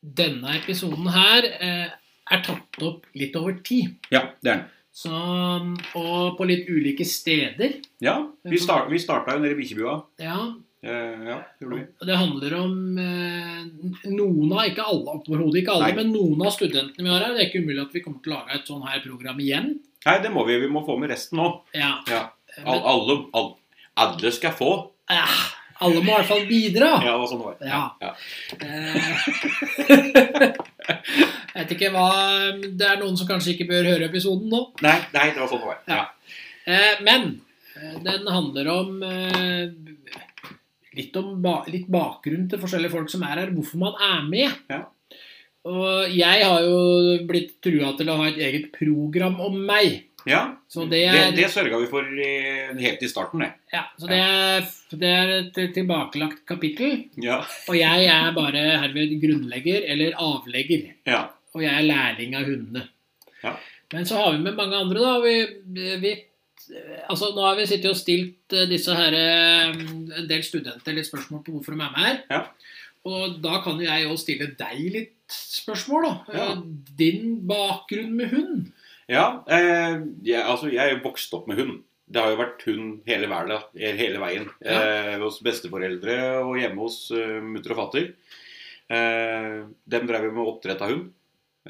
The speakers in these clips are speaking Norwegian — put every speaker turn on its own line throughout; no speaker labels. denne episoden her eh, er tatt opp litt over tid.
Ja, det er den.
Så, og på litt ulike steder.
Ja, vi, start, vi starta jo nede i bikkjebua.
Ja,
Eh, ja, gjorde vi.
og det handler om eh, noen av, ikke alle, overhodet ikke alle,
Nei.
men noen av studentene vi har her. Det er ikke umulig at vi kommer til å lage et sånn her program igjen.
Nei, det må vi. Vi må få med resten nå.
Ja,
Ja. Al
men,
alle, al alle skal få.
eh, alle må i hvert fall bidra.
Ja, det var sånn det var.
Ja.
Ja.
Eh, Jeg vet ikke hva Det er noen som kanskje ikke bør høre episoden nå.
Nei, nei, det var sånn det var. Ja.
Eh, Men eh, den handler om eh, litt om ba litt bakgrunn til forskjellige folk som er her, hvorfor man er med.
Ja.
Og jeg har jo blitt trua til å ha et eget program om meg.
ja.
Så det
Det,
er,
det sørga vi for eh, helt i starten, det.
ja, så det er, det er et tilbakelagt kapittel.
Ja.
Og jeg er bare herved grunnlegger eller avlegger.
ja.
Og jeg er lærling av hundene.
Ja.
Men så har vi med mange andre, da. Vi, vi, altså, nå har vi sittet og stilt eh, disse her, eh, en del studenter litt spørsmål på hvorfor de er med her.
Ja.
Og da kan jo jeg òg stille deg litt spørsmål, da.
Ja.
Eh, Din bakgrunn med hund.
ja eh, jeg, altså, jeg er jo vokst opp med hund. Det har jo vært hund hele, verden, hele veien.
Ja.
Eh, hos besteforeldre og hjemme hos eh, mutter og fatter. Eh, dem drev jo med oppdrett av hund.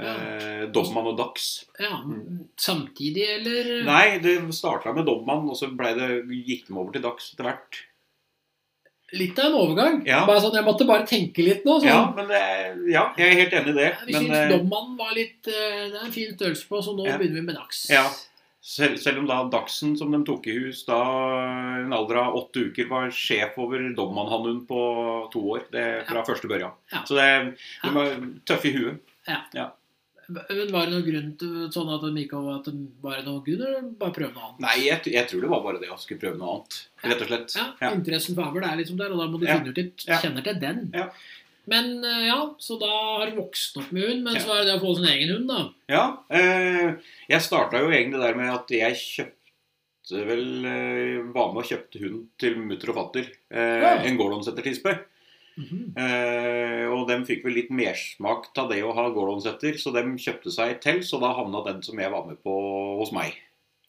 Eh, Domman og dachs.
Ja,
Mm.
Samtidig, eller?
Nei, det starta med Dobman, og så ble det, gikk de over til Dags etter hvert.
Litt av en overgang.
Ja.
Bare sånn, jeg måtte bare tenke litt nå.
Ja,
Sånn.
men det, ja, jeg er helt enig i det.
Vi
Men
syns
eh,
dommannen var litt eh, Det er en fin størrelse på, så nå
Ja.
begynner vi med dags.
Ja. selv, selv om da Dagsen, som de tok i hus da i en alder av åtte uker, var sjef over Dobman-hannhunden på to år det, fra første børjan.
Ja.
Så det, de var tøffe i huet.
Men var det noen grunn til sånn at de ikke at de var det noen grunn, eller bare prøve noe annet?
Nei, jeg, jeg tror det var bare det å skulle prøve noe annet, rett og slett.
Ja,
Ja.
Interessen for avl er liksom der, og da må du
Ja.
finne ut litt,
Ja.
kjenner til den.
Ja.
Men eh, ja, så da har du vokst opp med hund, men
Ja.
så er det det å få sin egen hund, da.
Ja, eh, jeg starta jo egentlig der med at jeg kjøpte vel eh, Var med og kjøpte hund til mutter og fatter. Eh,
Ja.
En gårdonsettertispe.
Mhm.
Eh, og dem fikk vel litt mersmak av det å ha gårdonsetter, så dem kjøpte seg et til. Så da havna den som jeg var med på hos meg.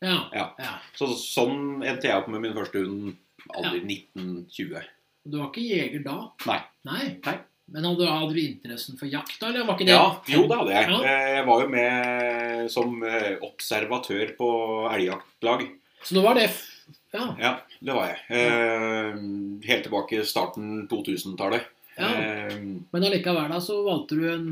Ja.
Ja.
ja.
Så sånn endte jeg opp med min første hund alder 1920.
Du var ikke jeger da?
Nei.
Nei.
Nei.
Men hadde, hadde du interessen for jakt, da? Eller var ikke det
Ja, jo, det hadde jeg.
Ja.
Eh, jeg var jo med som eh, observatør på elgjaktlag.
Så det var det f Ja.
Ja, det var jeg. Eh, helt tilbake i starten 2000-tallet.
ja.
Eh,
Men allikevel da så valgte du en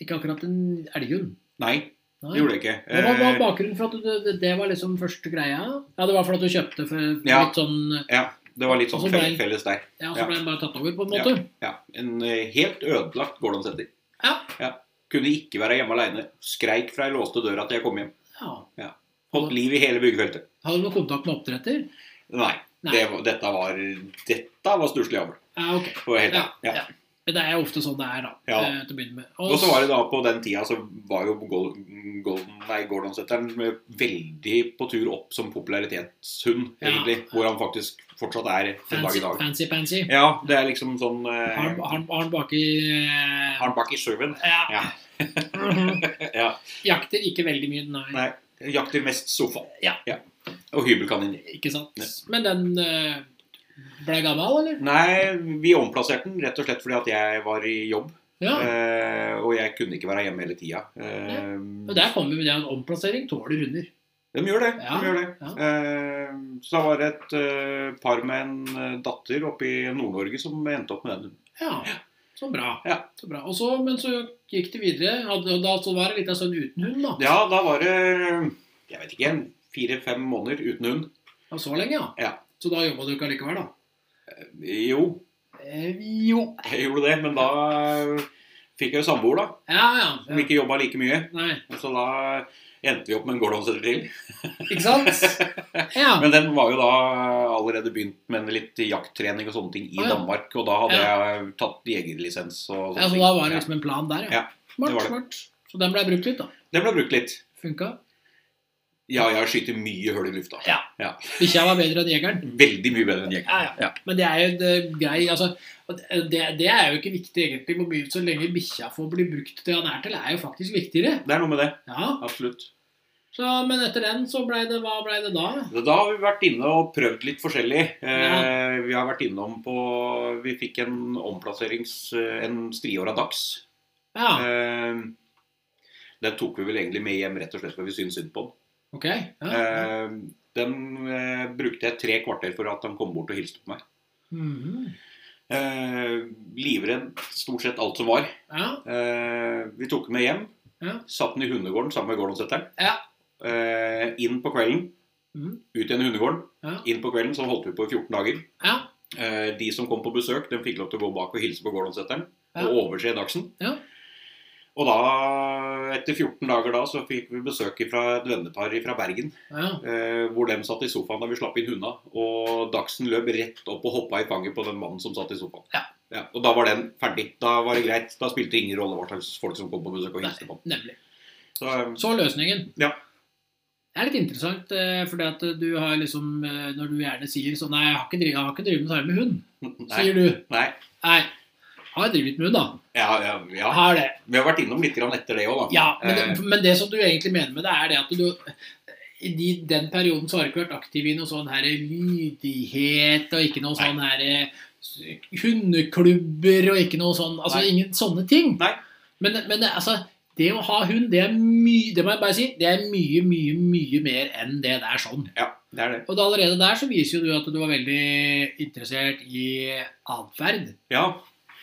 ikke akkurat en elghund.
nei,
Nei.
det gjorde jeg ikke.
Det var, var
Eh,
bakgrunnen for at du, det, det var liksom første greia? Ja, det var for at du kjøpte for
Ja.
litt sånn
ja, det var litt sånn
Og så ble-
fe- felles der.
Ja, så
Ja.
ble den bare tatt over, på en måte?
Ja, En eh, helt ødelagt gårdonsetter.
Ja.
ja. Kunne ikke være hjemme aleine. Skreik fra jeg låste døra til jeg kom hjem.
Ja.
Holdt liv i hele byggefeltet.
Hadde du noen kontakt med oppdretter?
Nei,
Nei.
Det, var- dette var Dette var stusslig avl.
Ja, ok.
for å være helt
Ja,
ærlig. Ja.
ja. Men det er jo ofte sånn det er, da.
Ja.
eh, Til å begynne med.
Og så var det da på den tida så var jo Gol- Golden, nei, Gordonsetteren veldig på tur opp som popularitetshund,
Ja.
egentlig. Hvor han faktisk fortsatt er den dag
fancy,
i dag.
fancy, fancy.
Ja, det er liksom sånn eh,
Har han- har han- har han baki eh,
Har han bak i sjøen.
Ja. Mhm.
Ja.
Jakter ikke veldig mye, nei.
Nei. Jakter mest sofa.
Ja.
Og hybelkaniner.
Ikke sant?
Nei.
Men den eh, ble gammel, eller?
Nei, vi omplasserte den rett og slett fordi at jeg var i jobb.
Ja.
Eh, og jeg kunne ikke være hjemme hele tida.
Og
Eh,
der kommer vi med det at omplassering tåler hunder.
de gjør det.
Ja,
De gjør det.
ja.
Eh, så det var et eh, par med en eh, datter oppe i Nord-Norge som endte opp med den.
Ja. Så bra.
Ja.
Så bra. Og så, men så gikk det videre. Hadde- Og da så var det litt av sånn uten hund, da.
Ja, da var det jeg vet ikke, fire-fem måneder uten hund.
Ja, så lenge, ja.
Ja.
Så da jobba du ikke allikevel, da?
Jo,
Eh, jo.
jeg gjorde det, men da eh, fikk jeg jo samboer, da.
Ja, ja.
Som ikke jobba like mye.
Nei,
Så da endte vi opp med en gårdhåndsetter til.
ikke sant? Ja.
Men den var jo da allerede begynt med litt jakttrening og sånne ting i
Å, ja.
Danmark. Og da hadde
Ja.
jeg tatt jegerlisens og sånne
ja, så
ting.
da var det liksom en plan der, ja.
Ja,
Smart,
det var det.
smart. Så den ble brukt litt, da.
Ja. Det ble brukt litt.
Funka.
Ja, jeg skyter mye hull i lufta.
Ja. Bikkja var bedre enn jegeren.
Veldig mye bedre enn jeg.
Ja, ja.
Ja.
Men det er jo en eh, grei altså, at, eh, det, det er jo ikke viktig egentlig hvor mye så lenge bikkja får bli brukt til han er til, er jo faktisk viktigere.
Det er noe med det.
Ja,
Absolutt.
så, Men etter den, så ble det Hva ble det da?
Så Da har vi vært inne og prøvd litt forskjellig. Eh, vi har vært innom på Vi fikk en omplasserings... eh, En striåra dags.
Ja,
Eh, den tok vi vel egentlig med hjem rett og slett fordi vi syntes synd på den.
ok. Ja. ja.
Eh, den eh, brukte jeg tre kvarter for at han kom bort og hilste på meg.
Mhm.
Eh, livredd stort sett alt som var.
ja.
Eh, vi tok den med hjem.
Ja.
Satt den i hundegården sammen med gårdsetteren.
Ja.
Eh, inn på kvelden.
Mhm.
Ut igjen i hundegården.
Ja.
Inn på kvelden, så holdt vi på i 14 dager.
ja.
Eh, de som kom på besøk, de fikk lov til å gå bak og hilse på gårdsetteren.
Ja.
Og overse dagsen.
Ja.
Og da, etter 14 dager da, så fikk vi besøk fra et vennepar fra Bergen.
ja.
Eh, hvor de satt i sofaen da vi slapp inn hunda. Og dagsen løp rett opp og hoppa i fanget på den mannen som satt i sofaen.
Ja.
og da var den ferdig. Da var det greit. Da spilte det ingen rolle hva slags folk som kom på besøk og hilste på den.
Nemlig.
Så, eh,
Så løsningen.
Ja.
Det er litt interessant, eh, fordi at du har liksom eh, Når du gjerne sier sånn Nei, jeg har ikke driv- jeg har ikke drevet noe særlig med hund,
nei.
sier du.
nei.
Nei. Har jeg drevet litt med hund, da?
Ja, ja, ja.
Har det.
Vi har vært innom litt grann etter det òg, da.
Ja, men
Eh,
det, men det som du egentlig mener med det, er det at du i de, den perioden så har du ikke vært aktiv i noe sånn her lydighet og ikke noe
Nei.
sånn her eh, hundeklubber og ikke noe sånn Altså
Nei.
ingen sånne ting.
Nei.
Men, men det, altså, det å ha hund, det er mye Det må jeg bare si, det er mye, mye, mye mer enn det der sånn.
ja, det er det.
Og da allerede der så viser jo du at du var veldig interessert i atferd.
Ja.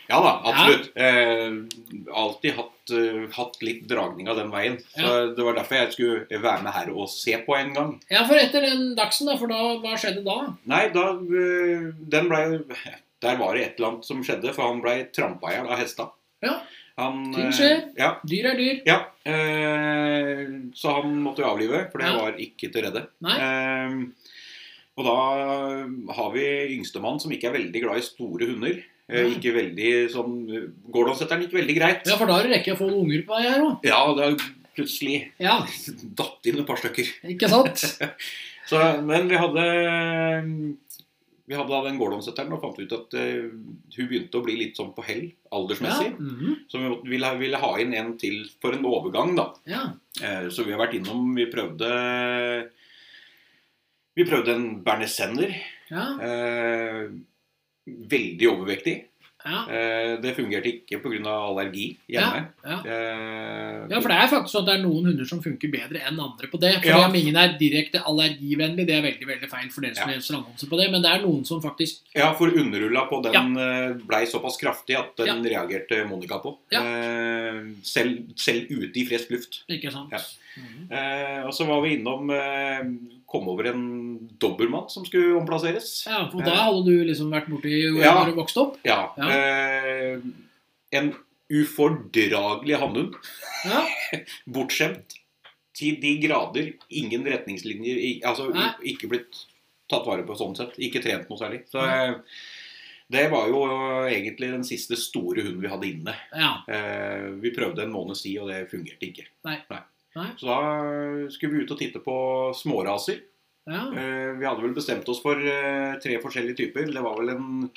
Ja da, absolutt. Eh, alltid hatt, eh, hatt litt dragning av den veien. Så Det var derfor jeg skulle være med her og se på en gang.
Ja, for etter den dagsen, da, for da, hva skjedde da?
Nei, da øh, Den blei Der var det et eller annet som skjedde, for han blei trampa i hjel av hesta.
Ja.
Han,
Ting
øh,
skjer.
Ja.
Dyr er dyr.
ja øh, så han måtte jo avlive, for det
Ja.
var ikke til redde.
Nei.
Ehm, og da har vi yngstemann som ikke er veldig glad i store hunder. Eh,
Nei.
Ikke veldig sånn Gordonsetteren gikk veldig greit.
Ja, for da rekker jeg å få noen unger på vei her òg.
Ja, det er plutselig
Ja,
datt inn et par stykker.
ikke sant?
Så, men vi hadde Vi hadde da den gårdomsetteren og fant ut at eh, hun begynte å bli litt sånn på hell aldersmessig.
Ja. mhm,
Så vi måtte- ville, ville ha inn en til for en overgang, da.
ja.
Eh, Så vi har vært innom Vi prøvde Vi prøvde en bernesender.
ja,
Eh, veldig overvektig.
ja,
Eh, det fungerte ikke pga. allergi hjemme.
ja.
Eh,
Ja, for det er faktisk sånn at det er noen hunder som funker bedre enn andre på det. For
Ja.
om ingen er direkte allergivennlig, det er veldig veldig feil for dere som
Ja.
leser annonser på det, men det er noen som faktisk
Ja, for underrulla på den eh, blei såpass kraftig at den reagerte Monica på.
Ja.
Eh, selv, selv ute i frisk luft.
Ikke sant?
Ja.
Mhm.
Eh, og så var vi innom eh, Kom over en dobbeltmann som skulle omplasseres.
Ja, for da hadde du liksom vært borti jo
Ja.
når du vokste opp?
Ja. Eh, en ufordragelig hannhund.
Ja.
Bortskjemt til de grader. Ingen retningslinjer. i- Altså
Nei.
i- ikke blitt tatt vare på sånn sett. Ikke trent noe særlig. Så eh, det var jo eh, egentlig den siste store hunden vi hadde inne.
ja.
Eh, vi prøvde en måneds tid, og det fungerte ikke.
Nei. Nei.
Så da skulle vi ut og titte på småraser.
ja.
Eh, vi hadde vel bestemt oss for eh, tre forskjellige typer. Det var vel en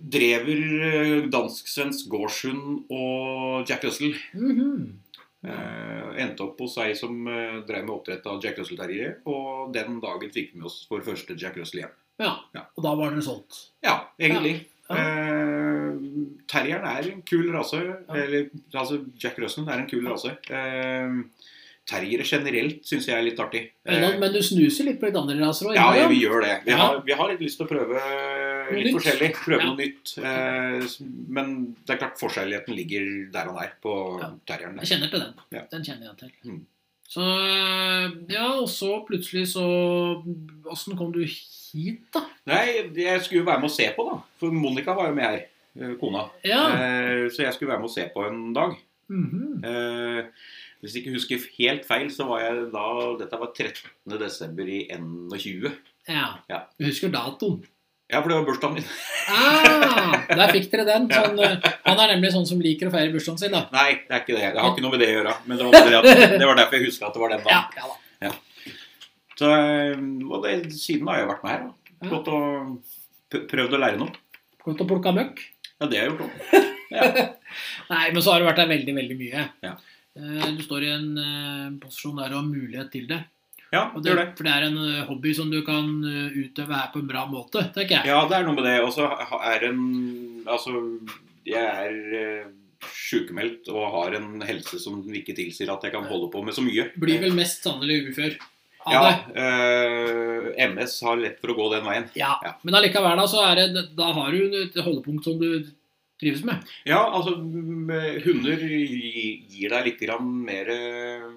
drever, eh, dansk-svensk gårdshund og Jack Russell.
Mhm.
Eh, endte opp hos ei som eh, drev med oppdrett av Jack Russell-terrier. Og den dagen fikk vi med oss vår første Jack Russell hjem.
ja.
Ja.
Og da var dere solgt?
Ja, egentlig.
Ja.
Eh, terrieren er en kul rase.
Ja.
Eller altså Jack Russell er en kul rase. Eh, terriere generelt syns jeg er litt artig.
Men,
Eh,
men du snuser litt på litt andre raser òg?
ja, ja, vi gjør det. Vi
Ja.
har, vi har litt lyst til å prøve litt
nytt.
forskjellig. Prøve
Ja.
noe nytt. Eh, s- men det er klart forskjelligheten ligger der han er på
Ja.
terrieren.
Jeg kjenner til den.
Ja.
Den kjenner jeg til.
Mm.
Så Ja, og så plutselig så Åssen kom du hit, da?
Nei, jeg skulle jo være med og se på, da. For Monica var jo med her. eh, Kona.
Ja.
Eh, så jeg skulle være med og se på en dag.
Mhm.
Eh, hvis jeg ikke husker helt feil, så var jeg da Dette var 13. desember i 21.
ja.
Ja.
Du husker datoen?
Ja, for det var bursdagen min.
Ah, der fikk dere den.
Ja.
Sånn, eh, han er nemlig sånn som liker å feire bursdagen sin, da.
Nei, det er ikke det. Det har ikke noe med det å gjøre. Men det var, bare det at, det var derfor jeg huska at det var den
Ja,
dagen.
ja da.
Så, eh, og det, siden da har jeg vært med her. Da.
Ja.
Gått og p- prøvd å lære noe.
Gått og plukka møkk.
Ja, det har jeg gjort òg.
Nei, men så har det vært der veldig, veldig mye.
Ja.
Eh, Du står i en eh, posisjon der og har mulighet til det.
Ja,
Og det,
gjør det.
For det er en eh, hobby som du kan eh, utøve her på en bra måte, tenker jeg.
Ja, det er noe med det. Og så ha- er en Altså, jeg er eh, sykemeldt og har en helse som ikke tilsier at jeg kan holde på med så mye.
Blir vel mest sannelig ufør av
Ja,
det.
eh, MS har lett for å gå den veien.
Ja.
Ja.
Men allikevel, da, så er det, da har du et holdepunkt som du trives med.
Ja, altså mm, Hunder gi- gir deg litt grann mer eh,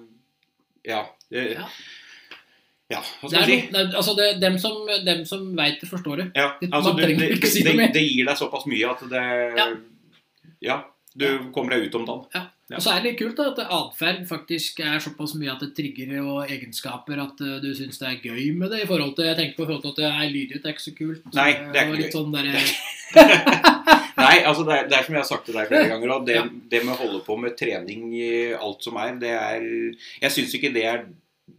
Ja. eh,
Ja.
Ja, hva
Det
skal
er,
jeg si?
noe- det er, altså det, dem som, dem som veit det, forstår det.
Ja,
Det-
altså
man
det,
trenger
det,
ikke si noe
det,
mer.
det gir deg såpass mye at det Ja,
Ja.
du kommer deg ut om dagen. Ja.
Og så er det litt kult da, at atferd faktisk er såpass mye at det trigger og egenskaper at eh, du syns det er gøy med det. i forhold til, Jeg tenker på i forhold til at det er lydrett er ikke så kult.
Nei, det er
Og
ikke
litt
gøy.
sånn der,
Nei, altså det er, det er som jeg har sagt til deg flere ganger òg, det, det med å holde på med trening i alt som er, det er Jeg syns ikke det er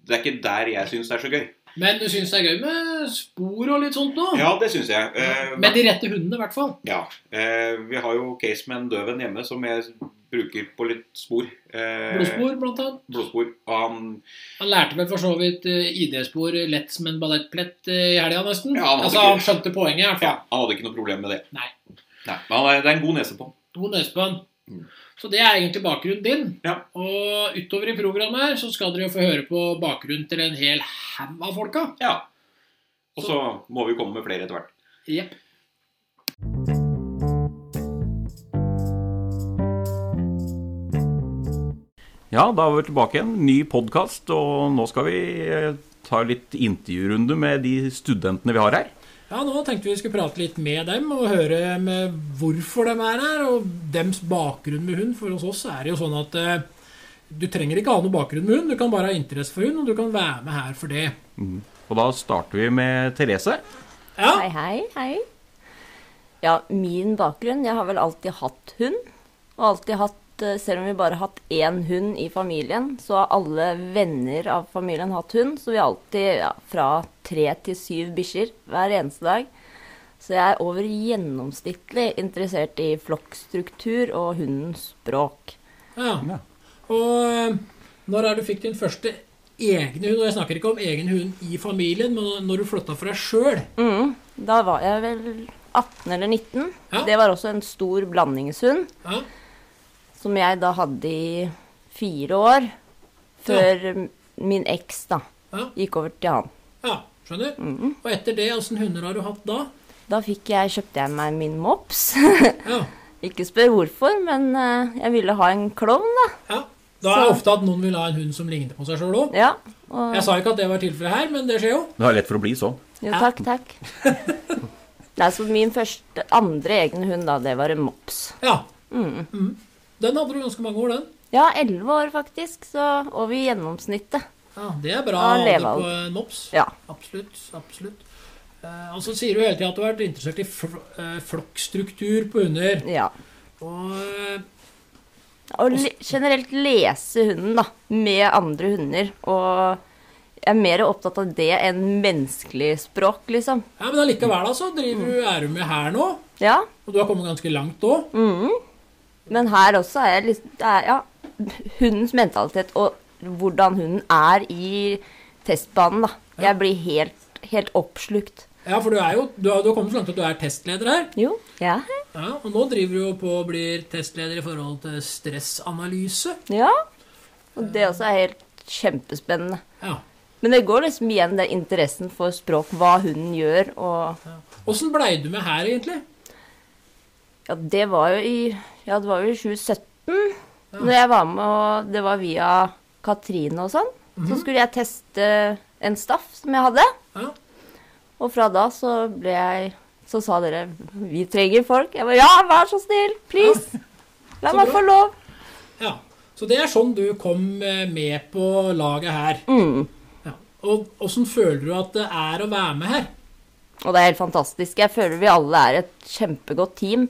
Det er ikke der jeg syns det er så gøy.
Men du syns det er gøy med spor og litt sånt nå?
Ja, det syns jeg. Eh,
Med de rette hundene, i hvert fall.
Ja. Eh, vi har jo case med en døv en hjemme som jeg bruker på litt spor. Eh,
Blodspor, blant annet.
Blodspor. Og Han,
Han lærte vel for så vidt eh, ID-spor lett som en ballettplett eh, i helga, nesten.
Ja, han hadde
altså,
ikke-
han skjønte poenget, i hvert
ja,
fall.
han hadde ikke noe problem med det.
Nei.
Nei, Men han er, det er en god nese på han.
God nese på han.
Mm.
Så det er egentlig bakgrunnen din.
Ja.
Og utover i programmet her så skal dere jo få høre på bakgrunnen til en hel haug av folka.
Ja. Og så må vi komme med flere etter hvert.
Jepp.
Ja, da er vi tilbake igjen. Ny podkast. Og nå skal vi eh, ta litt intervjurunde med de studentene vi har her.
Ja, nå tenkte vi skulle prate litt med dem og høre med hvorfor de er her, og dems bakgrunn med hund. For hos oss er det jo sånn at eh, du trenger ikke ha noe bakgrunn med hund, du kan bare ha interesse for hund, og du kan være med her for det.
Og da starter vi med Therese.
Ja,
Hei, hei, hei. Ja, min bakgrunn Jeg har vel alltid hatt hund. Og alltid hatt eh, Selv om vi bare har hatt én hund i familien, så har alle venner av familien hatt hund. Så vi har alltid ja, fra tre til syv bikkjer hver eneste dag. Så jeg er over gjennomsnittlig interessert i flokkstruktur og hundens språk.
Ja. Og eh, når er det du fikk din første egne hund? Og jeg snakker ikke om egen hund i familien, men når du flytta for deg sjøl.
Mm, da var jeg vel 18 eller 19.
Ja.
Det var også en stor blandingshund.
Ja.
som jeg da hadde i fire år, før min eks da
Ja.
gikk over til han.
ja, skjønner. Og etter det, åssen hunder har du hatt da?
Da fikk jeg, kjøpte jeg meg min mops.
Ja.
Ikke spør hvorfor, men eh, jeg ville ha en klovn, da.
ja. Da er det ofte at noen vil ha en hund som ligner på seg sjøl òg.
Ja, og,
Jeg sa ikke at det var tilfellet her, men det skjer jo.
Det er lett for å bli sånn.
jo, takk, takk. Nei, så min første, andre egne hund, da, det var en mops. Mm.
Ja. Mhm. Den hadde du ganske mange år, den.
Ja, elleve år faktisk, så over gjennomsnittet.
Ja, Det er bra
Ja,
alder
levealder.
på en mops.
Ja.
Absolutt. absolutt. Eh, og så sier du hele tida at du har vært interessert i fl eh, flokkstruktur på hunder.
ja.
Og eh,
Og le generelt lese hunden da, med andre hunder. Og jeg er mer opptatt av det enn menneskelig språk, liksom.
Ja, Men allikevel, altså. Driver du er du med her nå?
Ja, Mm-hmm.
Og du har kommet ganske langt òg.
men her også er jeg liksom, det er, ja, hundens mentalitet og hvordan hunden er i testbanen, da. Jeg blir helt, helt oppslukt.
Ja, for du er jo du har, du har kommet så langt at du er testleder her.
Jo, ja.
Ja, Og nå driver du jo på og blir testleder i forhold til stressanalyse.
Ja, og det også er helt kjempespennende.
Ja.
Men det går liksom igjen den interessen for språk, hva hunden gjør, og
Åssen blei du med her, egentlig?
Ja, det var jo i Ja, det var jo i 2017. Når jeg var med, og det var via Katrine og sånn. Så skulle jeg teste en staff som jeg hadde.
Mhm. Ja.
Og fra da så ble jeg Så sa dere 'Vi trenger folk'. Jeg bare 'Ja, vær så snill! Please! La
Så
meg
bra.
få lov!'
Ja, Så det er sånn du kom eh, med på laget her.
Mm.
Ja. Og åssen føler du at det er å være med her?
Og det er helt fantastisk. Jeg føler vi alle er et kjempegodt team.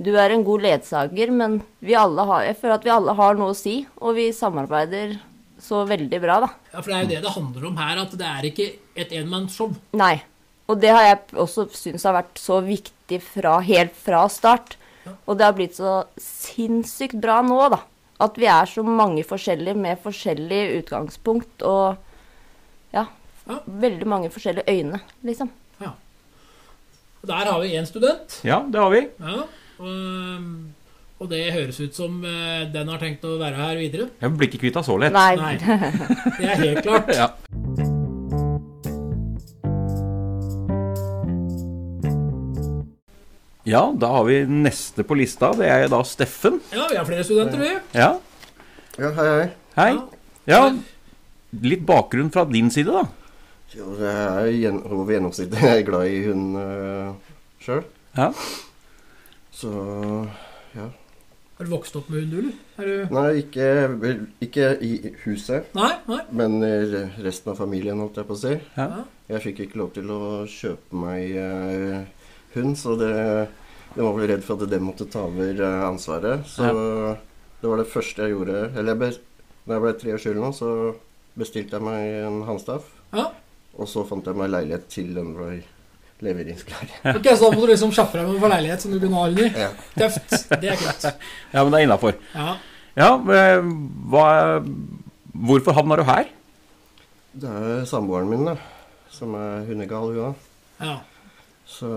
Du er en god ledsager, men vi alle har, jeg føler at vi alle har noe å si, og vi samarbeider så veldig bra, da.
Ja, For det er jo det det handler om her, at det er ikke et enmannsshow.
Nei. Og det har jeg også syntes har vært så viktig fra, helt fra start. Og det har blitt så sinnssykt bra nå, da. At vi er så mange forskjellige med forskjellig utgangspunkt og ja,
Ja.
veldig mange forskjellige øyne, liksom.
Ja. Og Der har vi én student.
Ja, det har vi.
Ja. Og, og det høres ut som eh, den har tenkt å være her videre.
Jeg blir ikke kvitt henne så lett.
Nei.
Nei. Det er helt klart.
Ja. ja, da har vi neste på lista. Det er da Steffen.
Ja, vi har flere studenter, vi.
Ja,
Ja, hei, hei.
hei. Ja, litt bakgrunn fra din side, da.
Jo, det er gjen- over gjennomsnittet. Jeg er glad i hund uh, sjøl.
Ja.
Så ja.
Har du vokst opp med hund, du, eller? Er du...
Nei, ikke, vel, ikke i huset,
Nei? Nei?
men i re- resten av familien, holdt jeg på å si.
Ja.
Jeg fikk ikke lov til å kjøpe meg eh, hund, så det, de var vel redd for at de måtte ta over eh, ansvaret. Så det var det første jeg gjorde. Eller jeg bes- da jeg ble 23 nå, så bestilte jeg meg en hanstaff.
Ja.
Og så fant jeg meg leilighet til den var leveringsklar.
Ok, Så da må du liksom kjappe deg med å få leilighet som du kunne ha hund i.
Ja.
Tøft. Det er kult.
ja, men det er innafor.
Ja.
Ja, eh, hva, hvorfor havna du her?
Det er samboeren min, da. Som er hundegal, hun òg.
ja.
Så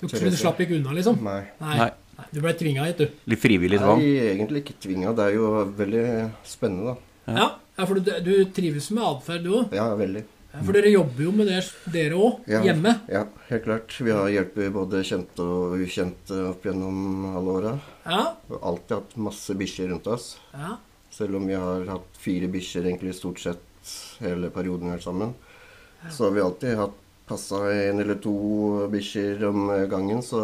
Du, men du slapp ikke unna, liksom?
Nei.
Nei.
Nei.
Nei. Du ble tvinga hit, du.
Litt frivillig
Jeg
tvang?
er egentlig ikke tvinga. Det er jo veldig spennende, da.
Ja. ja, for du, du trives med atferd, du òg.
Ja, veldig.
For dere jobber jo med det, dere òg,
Ja.
hjemme.
Ja, helt klart. Vi har hjulpet både kjente og ukjente opp gjennom alle åra.
Ja.
Og alltid hatt masse bikkjer rundt oss.
ja.
Selv om vi har hatt fire bikkjer egentlig stort sett hele perioden vi har vært sammen. Så har vi alltid hatt passa en eller to bikkjer om gangen, så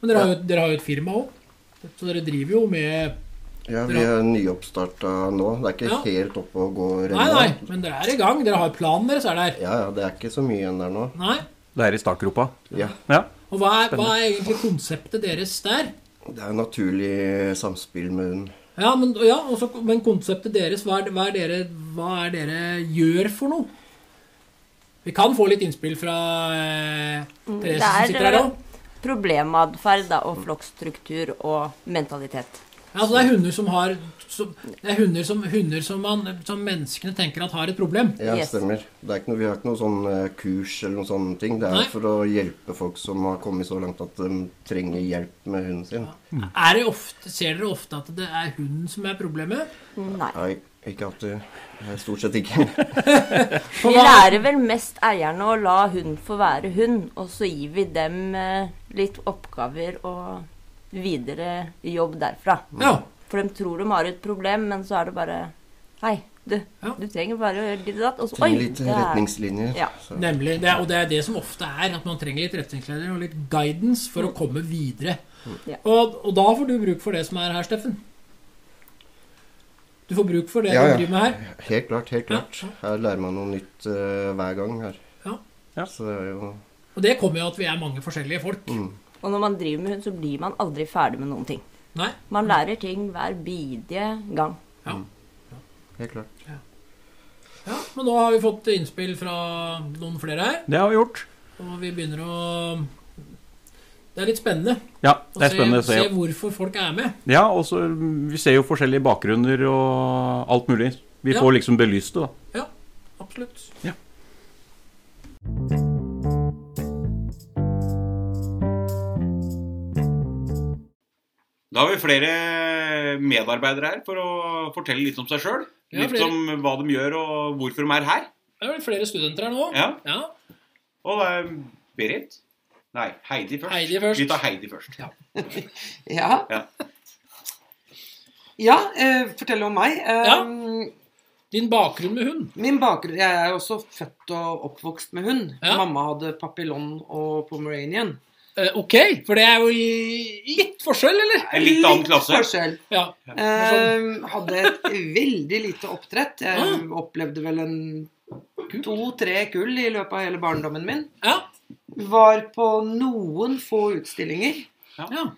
Men dere har jo, dere har jo et firma òg. Så dere driver jo med
ja, vi er nyoppstarta nå. Det er ikke
Ja.
helt oppe og går
Nei, nei, men dere er i gang. Dere har planen deres er der.
Ja, ja, det er ikke så mye igjen der nå.
Nei.
Det er i startgropa?
Ja.
Ja.
Og hva er, hva er egentlig konseptet deres der?
Det er jo naturlig samspill med hund.
Ja, men, ja, og så- men konseptet deres, hva er, hva, er dere, hva er dere gjør for noe? Vi kan få litt innspill fra eh, Therese som
Mm, Det
sitter her
er
òg.
problematferd da, og flokkstruktur og mentalitet.
Ja, så Altså, det er hunder som har som, Det er hunder, som, hunder som, man, som menneskene tenker at har et problem.
Ja,
Yes.
stemmer. Det er ikke noe, vi har ikke noe sånn eh, kurs eller noen sånne ting. Det er
Nei.
for å hjelpe folk som har kommet så langt at de trenger hjelp med hunden sin.
Er det ofte, ser dere ofte at det er hunden som er problemet?
Nei.
Nei, ikke alltid. Eh, Stort sett ikke.
Vi lærer vel mest eierne å la hund få være hund, og så gir vi dem eh, litt oppgaver og videre jobb derfra.
Ja.
For de tror de har et problem, men så er det bare Hei, du,
Ja.
du trenger bare å gjøre ditt og datt. Og så
Trenger litt
det er-
retningslinjer.
Ja.
Så.
Nemlig. Det, er- og det er det som ofte er, at man trenger litt retningsleder og litt guidance for å komme videre.
Mm. Ja.
Og, og da får du bruk for det som er her, Steffen. Du får bruk for det
Ja,
du
ja.
driver med her.
Helt klart, helt klart.
Ja.
Her lærer man noe nytt eh, hver gang her.
Ja.
Ja.
Så det er jo mm.
Og det kommer jo at vi er mange forskjellige folk.
Og når man driver med hund, så blir man aldri ferdig med noen ting.
Nei?
Man lærer ting hver bidige gang.
Ja.
Mm. helt klart.
ja. Men nå har vi fått innspill fra noen flere her,
Det har vi gjort.
og vi begynner å Det er litt spennende
Ja,
å
det er spennende å
se,
se.
se hvorfor folk er med.
Ja, og så mm, Vi ser jo forskjellige bakgrunner og alt mulig. Vi
Ja.
får liksom belyst det, da.
Ja, absolutt.
Ja.
Da har vi flere medarbeidere her for å fortelle litt om seg sjøl.
Ja,
Litt
flere.
om hva de gjør og hvorfor de er her.
Det er vel flere studenter her nå.
Ja.
ja.
Og det er Berit. Nei, Heidi først.
Heidi først.
Vi tar Heidi først.
Ja.
Ja.
Ja, eh, fortell om meg. Eh,
Ja. Din bakgrunn med hund.
Min bakgrunn Jeg er jo også født og oppvokst med hund.
Ja.
Mamma hadde papillon og pomeranian.
Eh, ok, for det er jo i- litt forskjell, eller?
En litt annen klasse.
forskjell.
Ja.
Eh, hadde et veldig lite oppdrett. Jeg
Ah.
opplevde vel en to-tre kull i løpet av hele barndommen min.
Ja.
Var på noen få utstillinger.
ja.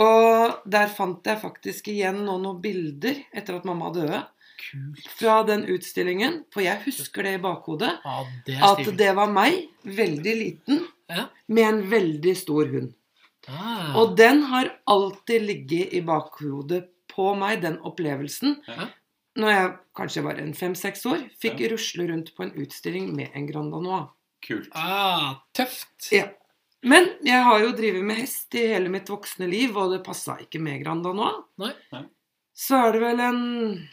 Og der fant jeg faktisk igjen nå noen bilder etter at mamma døde. fra den utstillingen, for jeg husker det i bakhodet,
Ja, det er
at
stilig.
det var meg, veldig liten,
Ja.
med en veldig stor hund.
Ah,
Og den har alltid ligget i bakhodet på meg, den opplevelsen.
Ja.
Når jeg kanskje var en fem-seks år, fikk rusle rundt på en utstilling med en Grand Danois.
Kult.
ah, tøft.
Ja. Men jeg har jo drevet med hest i hele mitt voksne liv, og det passa ikke med Grand Danois.
Nei.
Nei.
Så er det vel en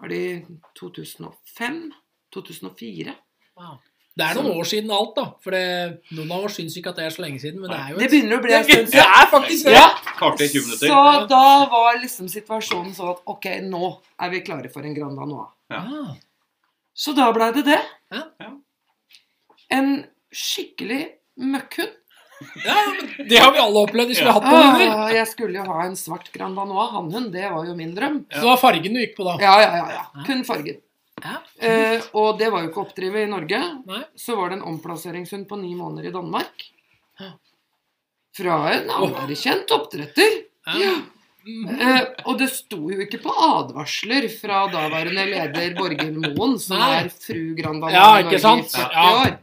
Var det i 2005? 2004?
Wow. Det er noen år siden alt, da. For det, noen av oss syns ikke at det er så lenge siden, men det er jo
Det begynner å bli en stund
Det
siden.
er faktisk det!
Ja.
Karte i 20
Så
minutter.
da var liksom situasjonen sånn at ok, nå er vi klare for en Grand Danois.
Ah,
Så da blei det det.
Ja.
Ja.
En skikkelig møkkhund.
ja, men det har vi alle opplevd hvis vi har hatt noen
Ah,
hunder.
jeg skulle jo ha en svart Grand Danois hannhund. Det var jo min drøm.
Så det var fargen du gikk på da.
Ja, ja, ja. ja. Kun fargen.
Ja.
Eh, og det var jo ikke å oppdrive i Norge.
Nei.
Så var det en omplasseringshund på ni måneder i Danmark. Fra en anerkjent oppdretter.
Ja. Mm.
Eh, og det sto jo ikke på advarsler fra daværende leder Borghild Moen, som
Nei.
er fru Grandal
Ja,
i Norge
ikke sant?
i 40
Ja.
år.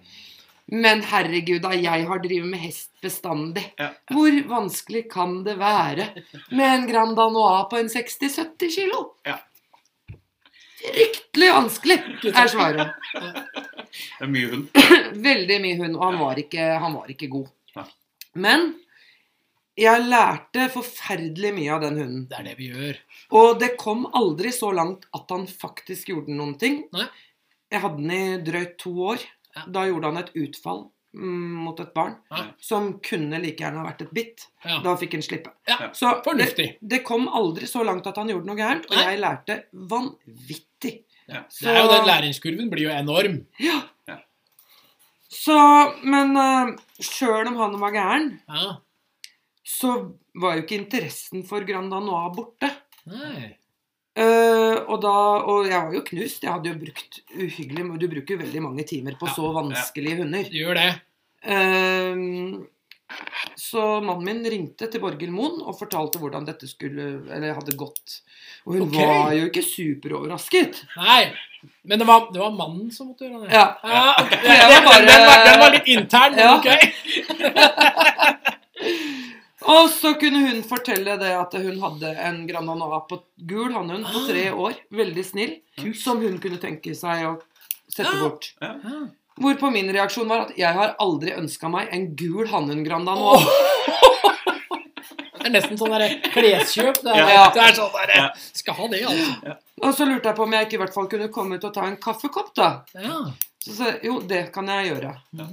Men herregud, da jeg har drevet med hest bestandig.
Ja.
Hvor vanskelig kan det være med en Grand Danois på en 60-70 kilo?
Ja.
Fryktelig vanskelig, er svaret.
Det er mye hund.
Veldig mye hund, og han var ikke, han var ikke god.
Nei.
Men jeg lærte forferdelig mye av den hunden.
Det er det vi gjør.
Og det kom aldri så langt at han faktisk gjorde noen ting.
Nei.
Jeg hadde den i drøyt to år.
Ja.
Da gjorde han et utfall mm, mot et barn
Ja.
som kunne like gjerne ha vært et bitt.
Ja.
Da fikk han slippe.
Ja.
Så det,
Fornuftig.
det kom aldri så langt at han gjorde noe gærent, og
Nei.
jeg lærte vanvittig.
Ja.
Det er jo den læringskurven blir jo enorm.
Så, men uh, sjøl om han var gæren,
Ja.
så var jo ikke interessen for Grand Danois borte.
Nei.
Eh, og, da, og jeg var jo knust. Jeg hadde jo brukt uhyggelig men Du bruker jo veldig mange timer på
Ja,
så vanskelige hunder.
Du gjør det.
Eh, så mannen min ringte til Borghild Moen og fortalte hvordan dette skulle Eller hadde gått. Og hun
Ok.
var jo ikke superoverrasket.
Nei. Men det var, det var mannen som måtte gjøre det.
Ja.
Ja, ok.
Det var
Den- den, den, var,
bare-
den var litt intern, men
Ja.
ok.
Og så kunne hun fortelle det at hun hadde en Grananoa på gul hannhund
Ah.
på tre år, veldig snill, som hun kunne tenke seg å sette
Ah. Ja.
bort. Hvorpå min reaksjon var at jeg har aldri ønska meg en gul hannhund Granda nå.
Åh. Det er nesten sånn der kleskjøp. Det er,
Ja.
det er sånn der, Skal ha det, altså.
Og så lurte jeg på om jeg ikke i hvert fall kunne komme ut og ta en kaffekopp, da.
Ja.
Så sa jeg jo, det kan jeg gjøre.
Ja.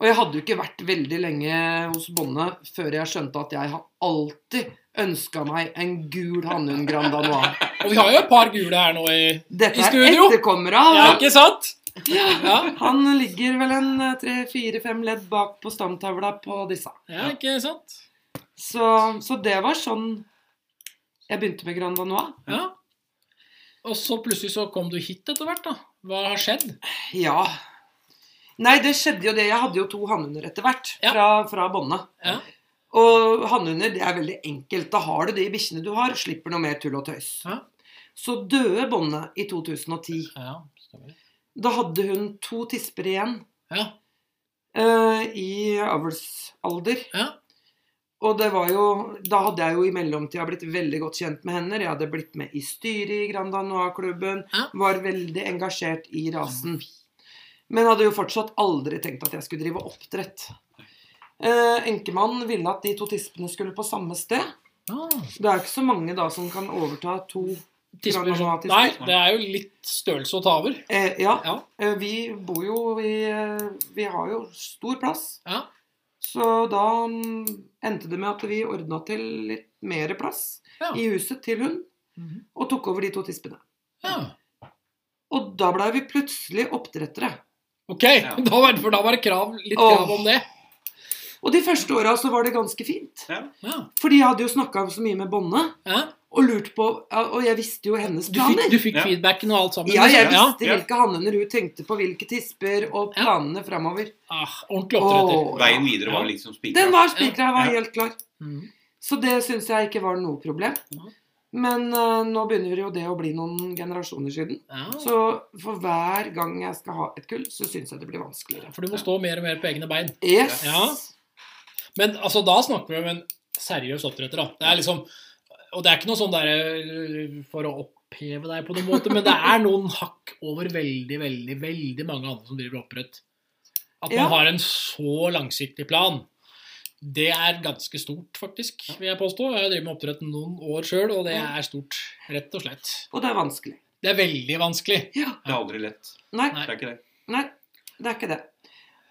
Og jeg hadde jo ikke vært veldig lenge hos Bonde før jeg skjønte at jeg har alltid ønska meg en gul hannhund Granda nå.
Og vi har jo et par gule her nå i I
Dette er
studio?
etterkommere av
Ja,
han.
ikke sant? Ja.
Han ligger vel en eh, tre-fire-fem ledd bak på stamtavla på disse.
ja, ikke sant?
Så, så det var sånn jeg begynte med Granda nå.
Ja. Og så plutselig så kom du hit etter hvert, da. Hva har skjedd?
Ja. Nei, det skjedde jo det. Jeg hadde jo to hannhunder etter hvert
Ja.
fra, fra båndet.
Ja.
Og hannhunder, det er veldig enkelt. Da har du de bikkjene du har, slipper noe mer tull og tøys.
Ja.
Så døde båndet i 2010.
Ja, stemmer.
Da hadde hun to tisper igjen
Ja.
eh, i avlsalder.
Ja.
Og det var jo, da hadde jeg jo i mellomtida blitt veldig godt kjent med henne. Jeg hadde blitt med i styret i Grand Danois-klubben.
Ja.
Var veldig engasjert i rasen. Men hadde jo fortsatt aldri tenkt at jeg skulle drive oppdrett. Eh, Enkemannen ville at de to tispene skulle på samme sted.
Ah.
Det er jo ikke så mange da som kan overta to
Tisper
Grandanoa
som-
tisper.
Nei, det er jo litt størrelse å ta over.
eh, Ja,
Ja.
eh, vi bor jo i eh, Vi har jo stor plass.
Ja.
Så da mm, endte det med at vi ordna til litt mer plass
Ja.
i huset til hun,
Mhm.
og tok over de to tispene.
ja.
Og da blei vi plutselig oppdrettere.
Ok, da var, for da var det krav, litt
Åh.
krav om det.
Og de første åra så var det ganske fint.
Ja.
Fordi jeg hadde jo snakka så mye med Bonne,
Ja.
og lurt på ja, Og jeg visste jo hennes
Du fikk, du
planer.
fikk
Ja.
feedbacken og alt sammen?
Ja, jeg
liksom.
visste
ja.
hvilke hannhunder hun tenkte på, hvilke tisper, og
Ja.
planene framover.
Ah, ordentlig oppdretter.
Åh,
Veien videre var
Ja.
liksom
Den
spikra.
var spikra, var
Ja.
helt klar.
Mhm.
Så det syns jeg ikke var noe problem. Men eh, nå begynner jo det å bli noen generasjoner siden.
Ja.
Så for hver gang jeg skal ha et kull, så syns jeg det blir vanskeligere.
For du må stå mer og mer på egne bein.
Yes.
Ja. Men altså, da snakker vi om en seriøs oppdretter. da. Det er liksom, og det er ikke noe sånn der øh, for å oppheve deg på noen måte, men det er noen hakk over veldig, veldig, veldig mange andre som driver oppdrett. At man
Ja.
har en så langsiktig plan. Det er ganske stort, faktisk, vil jeg påstå. Jeg har drevet med oppdrett noen år sjøl, og det
Ja.
er stort, rett og slett.
Og det er vanskelig.
Det er veldig vanskelig.
Det er aldri lett.
Nei,
Nei.
Det er ikke det.
nei, det er ikke det.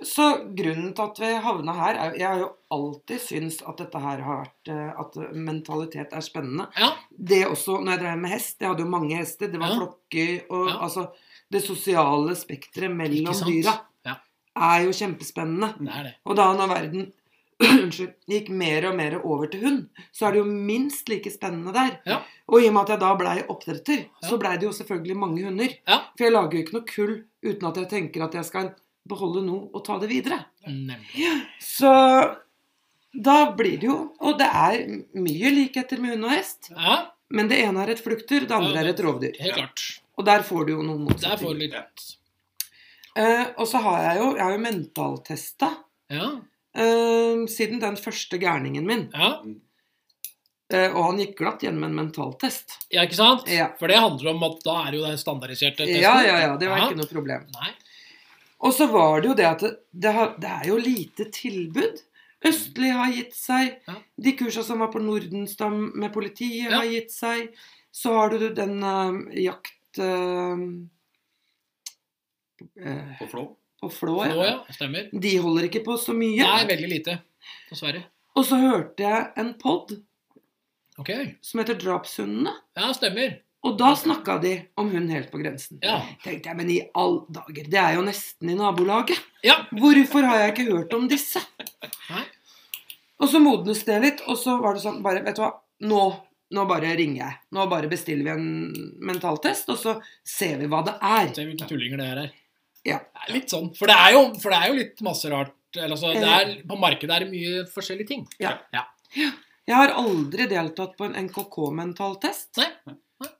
Så grunnen til at vi havna her er, Jeg har jo alltid syntes at dette her har vært eh, At mentalitet er spennende.
Ja.
Det også når jeg drev med hest. Jeg hadde jo mange hester. Det var
Ja.
flokker og
Ja.
altså Det sosiale spekteret
Ikke
mellom
sant?
dyra
Ja.
er jo kjempespennende.
Det er det.
Og da når verden unnskyld, gikk mer og mer over til hund, så er det jo minst like spennende der.
Ja.
Og i og med at jeg da blei oppdretter,
Ja.
så blei det jo selvfølgelig mange hunder.
Ja.
For jeg lager jo ikke noe kull uten at jeg tenker at jeg skal beholde noe og ta det videre.
Nemlig.
Så da blir det jo Og det er mye likheter med hund og hest.
Ja,
Men det ene er et flukter, det andre er et rovdyr.
helt klart.
Og der får du jo noen
Der får
motsetninger.
du litt
Eh, og så har jeg jo, jeg har jo mentaltesta
Ja.
eh, siden den første gærningen min.
ja.
Eh, og han gikk glatt gjennom en mentaltest.
Ja, ikke sant?
Ja.
For det handler om at da er det jo den standardiserte testen.
Ja, ja, ja, det var ikke noe problem.
Nei.
Og så var det jo det at det, det, har, det er jo lite tilbud. Østli har gitt seg.
Ja.
De kursa som var på Nordenstam med politiet,
Ja.
har gitt seg. Så har du den eh, jakt eh, eh,
På Flå.
på Flå,
Nå,
ja.
ja. Stemmer.
De holder ikke på så mye.
Nei, veldig lite. Dessverre.
Og så hørte jeg en pod
Ok.
som heter Drapshundene.
Ja, stemmer.
Og da snakka de om hun helt på grensen.
Ja.
Tenkte jeg, men i all dager, det er jo nesten i nabolaget.
Ja.
Hvorfor har jeg ikke hørt om disse?
Nei.
Og så modnes det litt, og så var det sånn bare, Vet du hva, nå, nå bare ringer jeg. Nå bare bestiller vi en mentaltest, og så ser vi hva det er.
Se hvilke tullinger det her er.
Ja.
Det er Litt sånn. For det er jo, for det er jo litt masse rart. Eller, altså, det er, på markedet er det mye forskjellige ting.
Eh. Ja.
ja.
Jeg har aldri deltatt på en NKK-mentaltest.
Nei.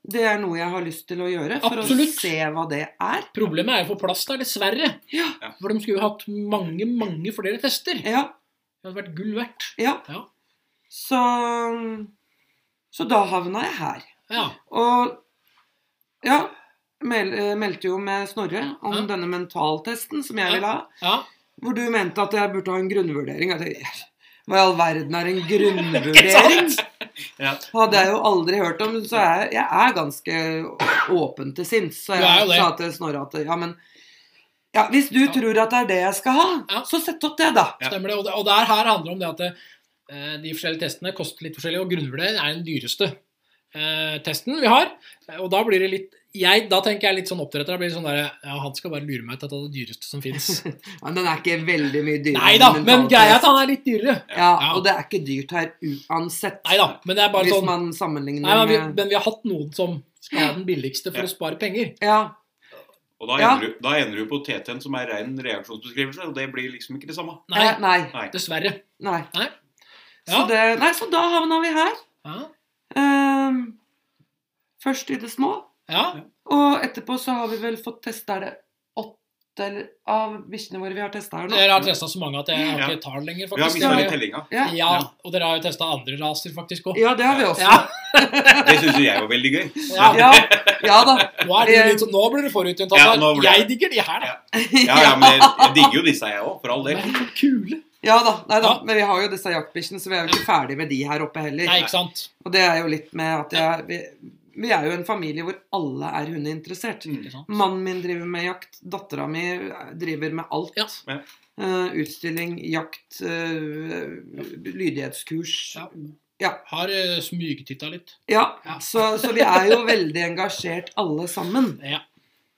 Det er noe jeg har lyst til å gjøre for
Absolutt.
å se hva det er.
Problemet er jo å få plass der, dessverre.
Ja.
For de skulle jo hatt mange, mange flere tester.
Ja,
Det hadde vært gull verdt.
ja.
Ja.
Så, så da havna jeg her.
Ja.
Og ja, mel eh, meldte jo med Snorre om
Ja.
denne mentaltesten som jeg
Ja.
ville ha.
ja.
Hvor du mente at jeg burde ha en grunnvurdering. Jeg tenkte, Hva i all verden er en grunnvurdering?
Ja.
Hadde jeg jo aldri hørt om, så er jeg, jeg er ganske åpen til sinns. Så
Du er jo
jeg
det.
sa til Snorre at ja, men ja, hvis du tror at det er det jeg skal ha,
Ja.
så sett opp det, da.
Ja.
Stemmer det. Og, det, og der her handler det om det at eh, de forskjellige testene koster litt forskjellig, og grunnvurdering er den dyreste eh, testen vi har. Eh, Og da blir det litt jeg, Da tenker jeg litt sånn oppdretter. Da blir det sånn der, ja, Han skal bare lure meg til å ta det dyreste som fins.
Men den er ikke veldig mye dyrere.
Nei da,
enn
men
mentaltest.
greia er at han er litt dyrere.
ja,
Ja.
Og det er ikke dyrt her uansett.
Nei da, men det er bare
hvis
sånn.
man sammenligner
Nei, men, vi,
med
men vi har hatt noen som skal ha den billigste
Ja.
for å spare penger.
Ja.
Og da
Ja.
ender, du, da ender du på TT-en som er ren reaksjonsbeskrivelse, og det blir liksom ikke det samme.
Nei,
eh, Nei.
Nei.
dessverre.
nei.
Nei.
Så,
Ja.
det, nei, så da havna vi her.
Ja.
Ehm, først i det små,
ja.
og etterpå så har vi vel fått testa Er det åtte eller- av bikkjene våre vi har testa her nå.
Dere har testa så mange at jeg har
Ja.
ikke tar det lenger,
Vi har
faktisk.
mista litt
ja,
tellinga.
Ja,
Og dere har jo testa andre raser, faktisk òg.
ja, det har vi også.
Ja.
Det syns jeg var veldig gøy.
Ja.
Ja, ja da.
Nå, er det litt, sånn- nå blir det forutinntatt.
Ja, nå blir det-
Altså, Jeg digger de her, da.
Ja, ja, men jeg, jeg digger jo disse, jeg òg, for all
De
del.
er helt kule.
Ja da. Nei da.
Ja. Mm.
Men vi har jo disse jaktbikkjene, så vi er jo ikke ferdig med de her oppe heller.
Nei, ikke sant?
Og det er jo litt med at jeg, vi, vi er jo en familie hvor alle er hundeinteressert.
Mm, Ikke sant?
Mannen min driver med jakt, dattera mi driver med alt.
Ja.
Ja.
Eh, utstilling, jakt, eh, lydighetskurs.
Ja.
Ja.
Har uh, smygtitta litt.
Ja,
Ja.
Så, så vi er jo veldig engasjert alle sammen.
Ja.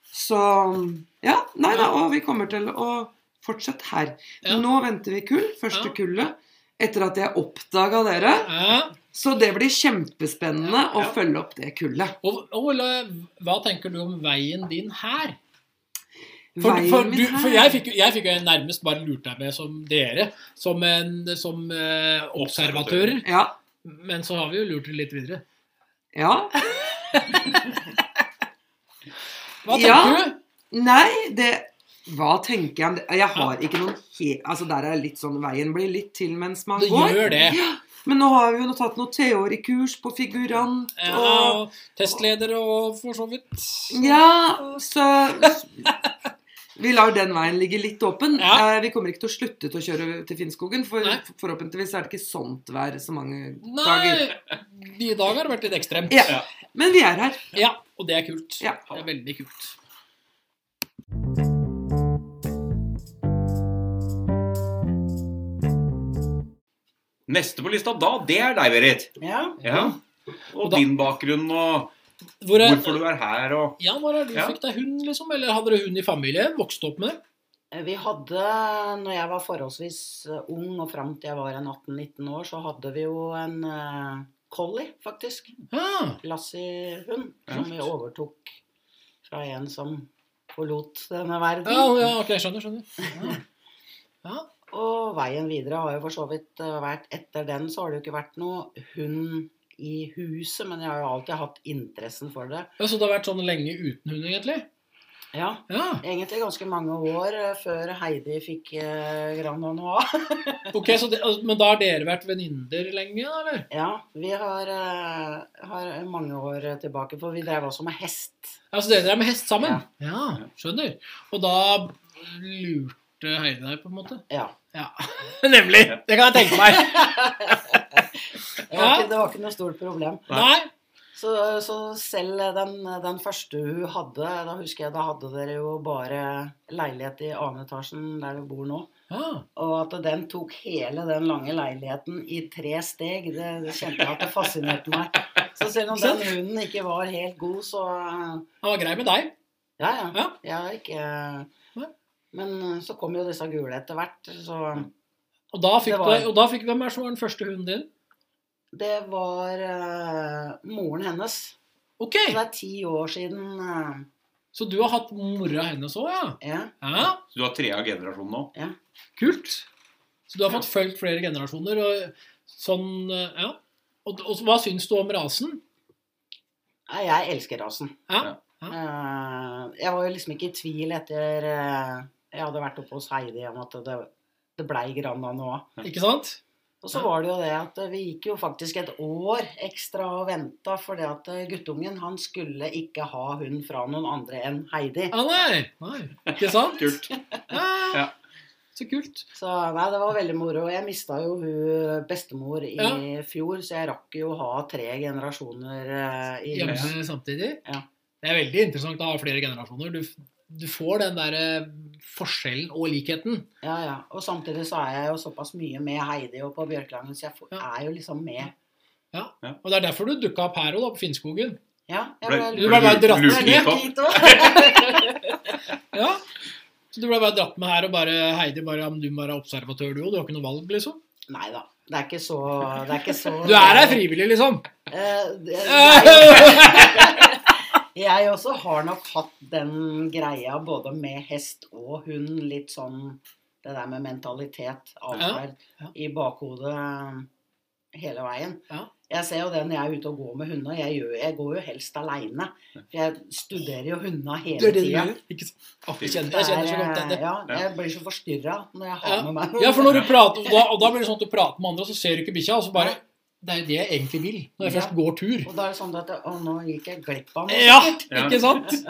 Så ja, nei da, og vi kommer til å fortsette her.
Ja.
Nå venter vi kull, første
Ja.
kullet, etter at jeg oppdaga dere.
Ja.
Så det blir kjempespennende å
Ja.
følge opp det kullet.
Og, og Ole, hva tenker du om veien din her? For,
Veien
for,
min
du,
her-
for jeg fikk jo jeg fikk jo nærmest bare lurt deg med som dere, som, en, som eh, observatører.
Ja,
Men så har vi jo lurt det litt videre.
Ja.
Hva tenker
Ja.
du?
Nei, det Hva tenker jeg om det? Jeg har ikke noen he... Altså, der er litt sånn Veien blir litt til mens man
Det
går.
gjør det.
Ja. Men nå har vi jo tatt noe teorikurs på figurant
Ja,
og
og testleder og for så vidt.
Ja, så Vi lar den veien ligge litt åpen.
Ja.
Eh, Vi kommer ikke til å slutte til å kjøre til Finnskogen, for
Nei.
forhåpentligvis er det ikke sånt vær så mange
Nei,
dager.
i dag har det vært litt ekstremt.
Ja. Men vi er her.
Ja, og det er kult.
Ja.
Det er veldig kult.
Neste på lista da, det er deg, Berit.
Ja.
Ja. Og
da-
din bakgrunn, og
Hvor er,
hvorfor du er her, og
ja, hvor er du
Ja.
fikk deg hund, liksom? Eller hadde dere hund i familie? Vokste opp med det?
Eh, Vi hadde, når jeg var forholdsvis eh, ung og fram til jeg var en 18-19 år, så hadde vi jo en eh, collie, faktisk.
Ja.
Lassie-hund. Som vi overtok fra en som forlot denne verden.
Ja, ja, ok, skjønner, skjønner. Ja.
Og veien videre har jo for så vidt eh, vært Etter den så har det jo ikke vært noe hund i huset, men jeg har jo alltid hatt interessen for det.
Ja. Så det har vært sånn lenge uten hund, egentlig?
Ja,
Ja,
Egentlig ganske mange år eh, før Heidi fikk eh, Grand Anois.
ok, så det, altså, Men da har dere vært venninner lenge, da, eller?
Ja, vi har, eh, har mange år tilbake, for vi drev også med hest.
Ja, Så dere er med hest sammen? Ja, skjønner. Og da lurte Heidi deg, på en måte?
Ja.
Ja, Nemlig! Det kan jeg tenke meg.
Det var,
Ja.
ikke, det var ikke noe stort problem.
Nei?
Så, så selv den, den første hun hadde, da husker jeg da hadde dere jo bare leilighet i annen etasjen der du bor nå.
Ja.
Og at den tok hele den lange leiligheten i tre steg, det, det kjente jeg at det fascinerte meg. Så selv om den hunden ikke var helt god, så
Han var grei med deg.
Ja, ja.
Ja.
Jeg har ikke Men så kom jo disse gule etter hvert, så
Og da fikk,
Det var-
du, og da fikk Hvem er som var den første hunden din?
Det var eh, moren hennes.
Ok,
Så det er ti år siden eh,
Så du har hatt mora hennes òg, ja?
Ja.
ja?
så du har trea generasjon nå.
Kult. Så du har fått fulgt flere generasjoner. Og sånn, eh, ja. Og, og så hva syns du om rasen?
Nei, jeg elsker rasen.
Ja.
Eh, jeg var jo liksom ikke i tvil etter eh, Jeg hadde vært oppe hos Heidi om at det, det blei Granda nå.
Ikke sant?
Og så var det jo det at vi gikk jo faktisk et år ekstra og venta fordi at eh, guttungen han skulle ikke ha hund fra noen andre enn Heidi.
Ja, nei. nei. Ikke sant?
Kult.
Ja.
Ja.
Så kult.
Så nei, det var veldig moro. Jeg mista jo hun bestemor i
Ja.
fjor, så jeg rakk jo å ha tre generasjoner eh, i
Hjemme
huset.
samtidig.
Ja.
Det er veldig interessant å ha flere generasjoner. Du, du får den eh, derre forskjellen og likheten.
Ja, ja. Og samtidig så er jeg jo såpass mye med Heidi og på Bjørklangen, så jeg får,
Ja.
er jo liksom med.
Og det er derfor du dukka opp her og da, på Finnskogen.
Ja, jeg
Ble-
ble
Du ble bare dratt
lurt
Jeg ble
med.
litt opp.
hit også.
Ja. Så du ble bare dratt med her, og bare Heidi bare, ja, men du må være observatør, du òg. Du har ikke noe valg, liksom.
Nei da. Det er ikke så det er ikke så,
Du er her frivillig, liksom.
Eh, det- Jeg også har nok hatt den greia både med hest og hund, litt sånn det der med mentalitet, atferd,
Ja, ja.
i bakhodet eh, hele veien.
Ja.
Jeg ser jo det når jeg er ute og går med hundene. Jeg, gjør, jeg går jo helst aleine. For jeg studerer jo hundene
Det
hele
er det du
tida.
gjør. Ikke sant? Å, Jeg kjenner, jeg kjenner så godt det.
Ja, jeg blir så forstyrra når jeg har med meg
Ja, for når du prater, og da, og da blir det sånn at du prater med andre, og så ser du ikke bikkja, og så bare Det er jo det jeg egentlig vil, når jeg
Ja.
først går tur.
Og da er det sånn at Å, nå gikk jeg glipp av noe.
Ja,
Ja.
ikke sant?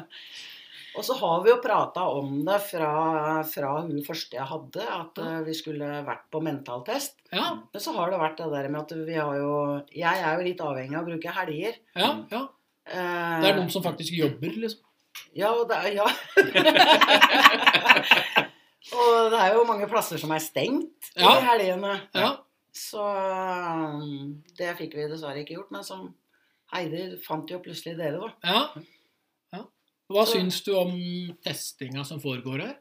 Og så har vi jo prata om det fra, fra hun første jeg hadde, at eh, vi skulle vært på mentaltest.
Ja,
Men så har det vært det der med at vi har jo Jeg er jo litt avhengig av å bruke helger.
ja, ja.
Eh,
Det er noen som faktisk jobber, liksom.
Ja, og det er, ja. og det er jo mange plasser som er stengt i
Ja.
helgene.
Ja.
Så um, det fikk vi dessverre ikke gjort. Men som Heidi fant jo plutselig dere, da.
ja. ja. Hva
Så-
syns du om testinga som foregår her?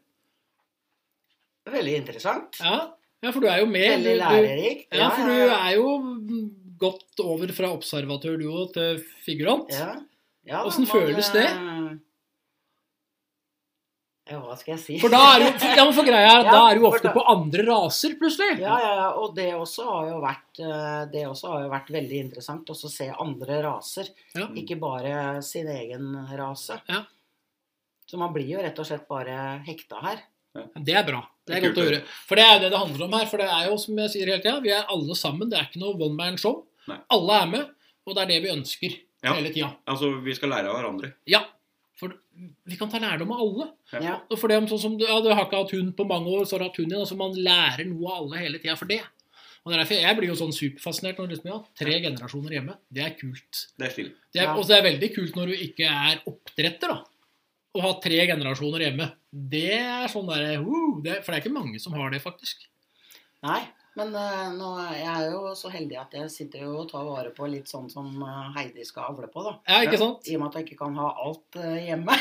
Veldig interessant.
Ja, ja for du er jo med.
Veldig
du- du-
lærerikt.
Ja, for du er jo gått over fra observatør du òg, til figurant.
Ja. Ja, da, eh,
Hvordan
man,
føles det?
eh,
Ja, hva skal jeg si?
For da er jo, for, ja, men for greia er at
Ja,
da er du jo
for
ofte
da-
på andre raser, plutselig.
Ja, ja, ja. Og det også har jo vært, eh, det også har jo vært veldig interessant også å se andre raser.
Ja.
Ikke bare sin egen rase.
Ja.
Så man blir jo rett og slett bare hekta her.
Det er bra.
Det
Det er
er
godt å
kult,
høre. For det er jo det det handler om her. For det er jo, som jeg sier hele tida, vi er alle sammen. Det er ikke noe one man show.
Nei.
Alle er med, og det er det vi ønsker
Ja.
hele tida.
Altså, vi skal lære av hverandre.
Ja. For vi kan ta lærdom av alle.
Ja.
Ja.
Og for det om sånn som du, ja, du har ikke hatt hund på mange år, så har du hatt hund igjen. Altså man lærer noe av alle hele tida for det. Og det er derfor Jeg blir jo sånn superfascinert når liksom, ja, tre generasjoner hjemme. Det er kult.
Det er stille.
Det er,
Ja.
Og det er veldig kult når du ikke er oppdretter, da. Å ha tre generasjoner hjemme. Det er sånn derre uh, det- For det er ikke mange som har det, faktisk.
Nei, men eh, nå, jeg er jo så heldig at jeg sitter jo og tar vare på litt sånn som eh, Heidi skal avle på, da.
Ja, ikke sant?
I og med at jeg ikke kan ha alt eh, hjemme.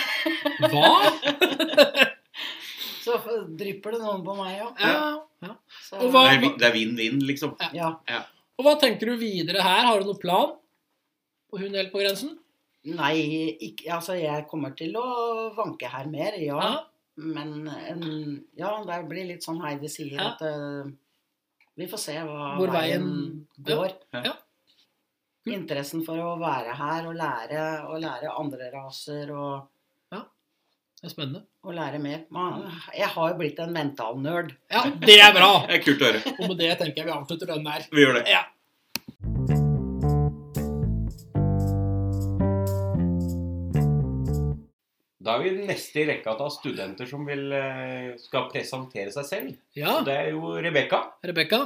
Hva?
Så drypper det noen på meg òg.
Ja. Ja.
Så
Og hva-
Det er vi- det er vinn-vinn, liksom.
Ja.
Og hva tenker du videre her? Har du noen plan? På hund helt på grensen?
Nei, ikke, altså jeg kommer til å vanke her mer, ja.
Ja.
Men en- ja, det blir litt sånn Heidi sier
Ja.
at eh, vi får se
Ah,
hva
Hvor
veien
veien-
går.
Ja.
Ja. Kult.
Interessen for å være her og lære, og lære andre raser og
Det er spennende.
å lære mer. Man, jeg har jo blitt en mental nerd.
Ja, det er bra!
Det er kult å høre.
Og med det tenker jeg vi avslutter den der.
Vi gjør det.
Ja.
Da er vi neste i rekka av studenter som vil, eh, skal presentere seg selv.
Ja,
Og det er jo Rebekka.
Rebekka.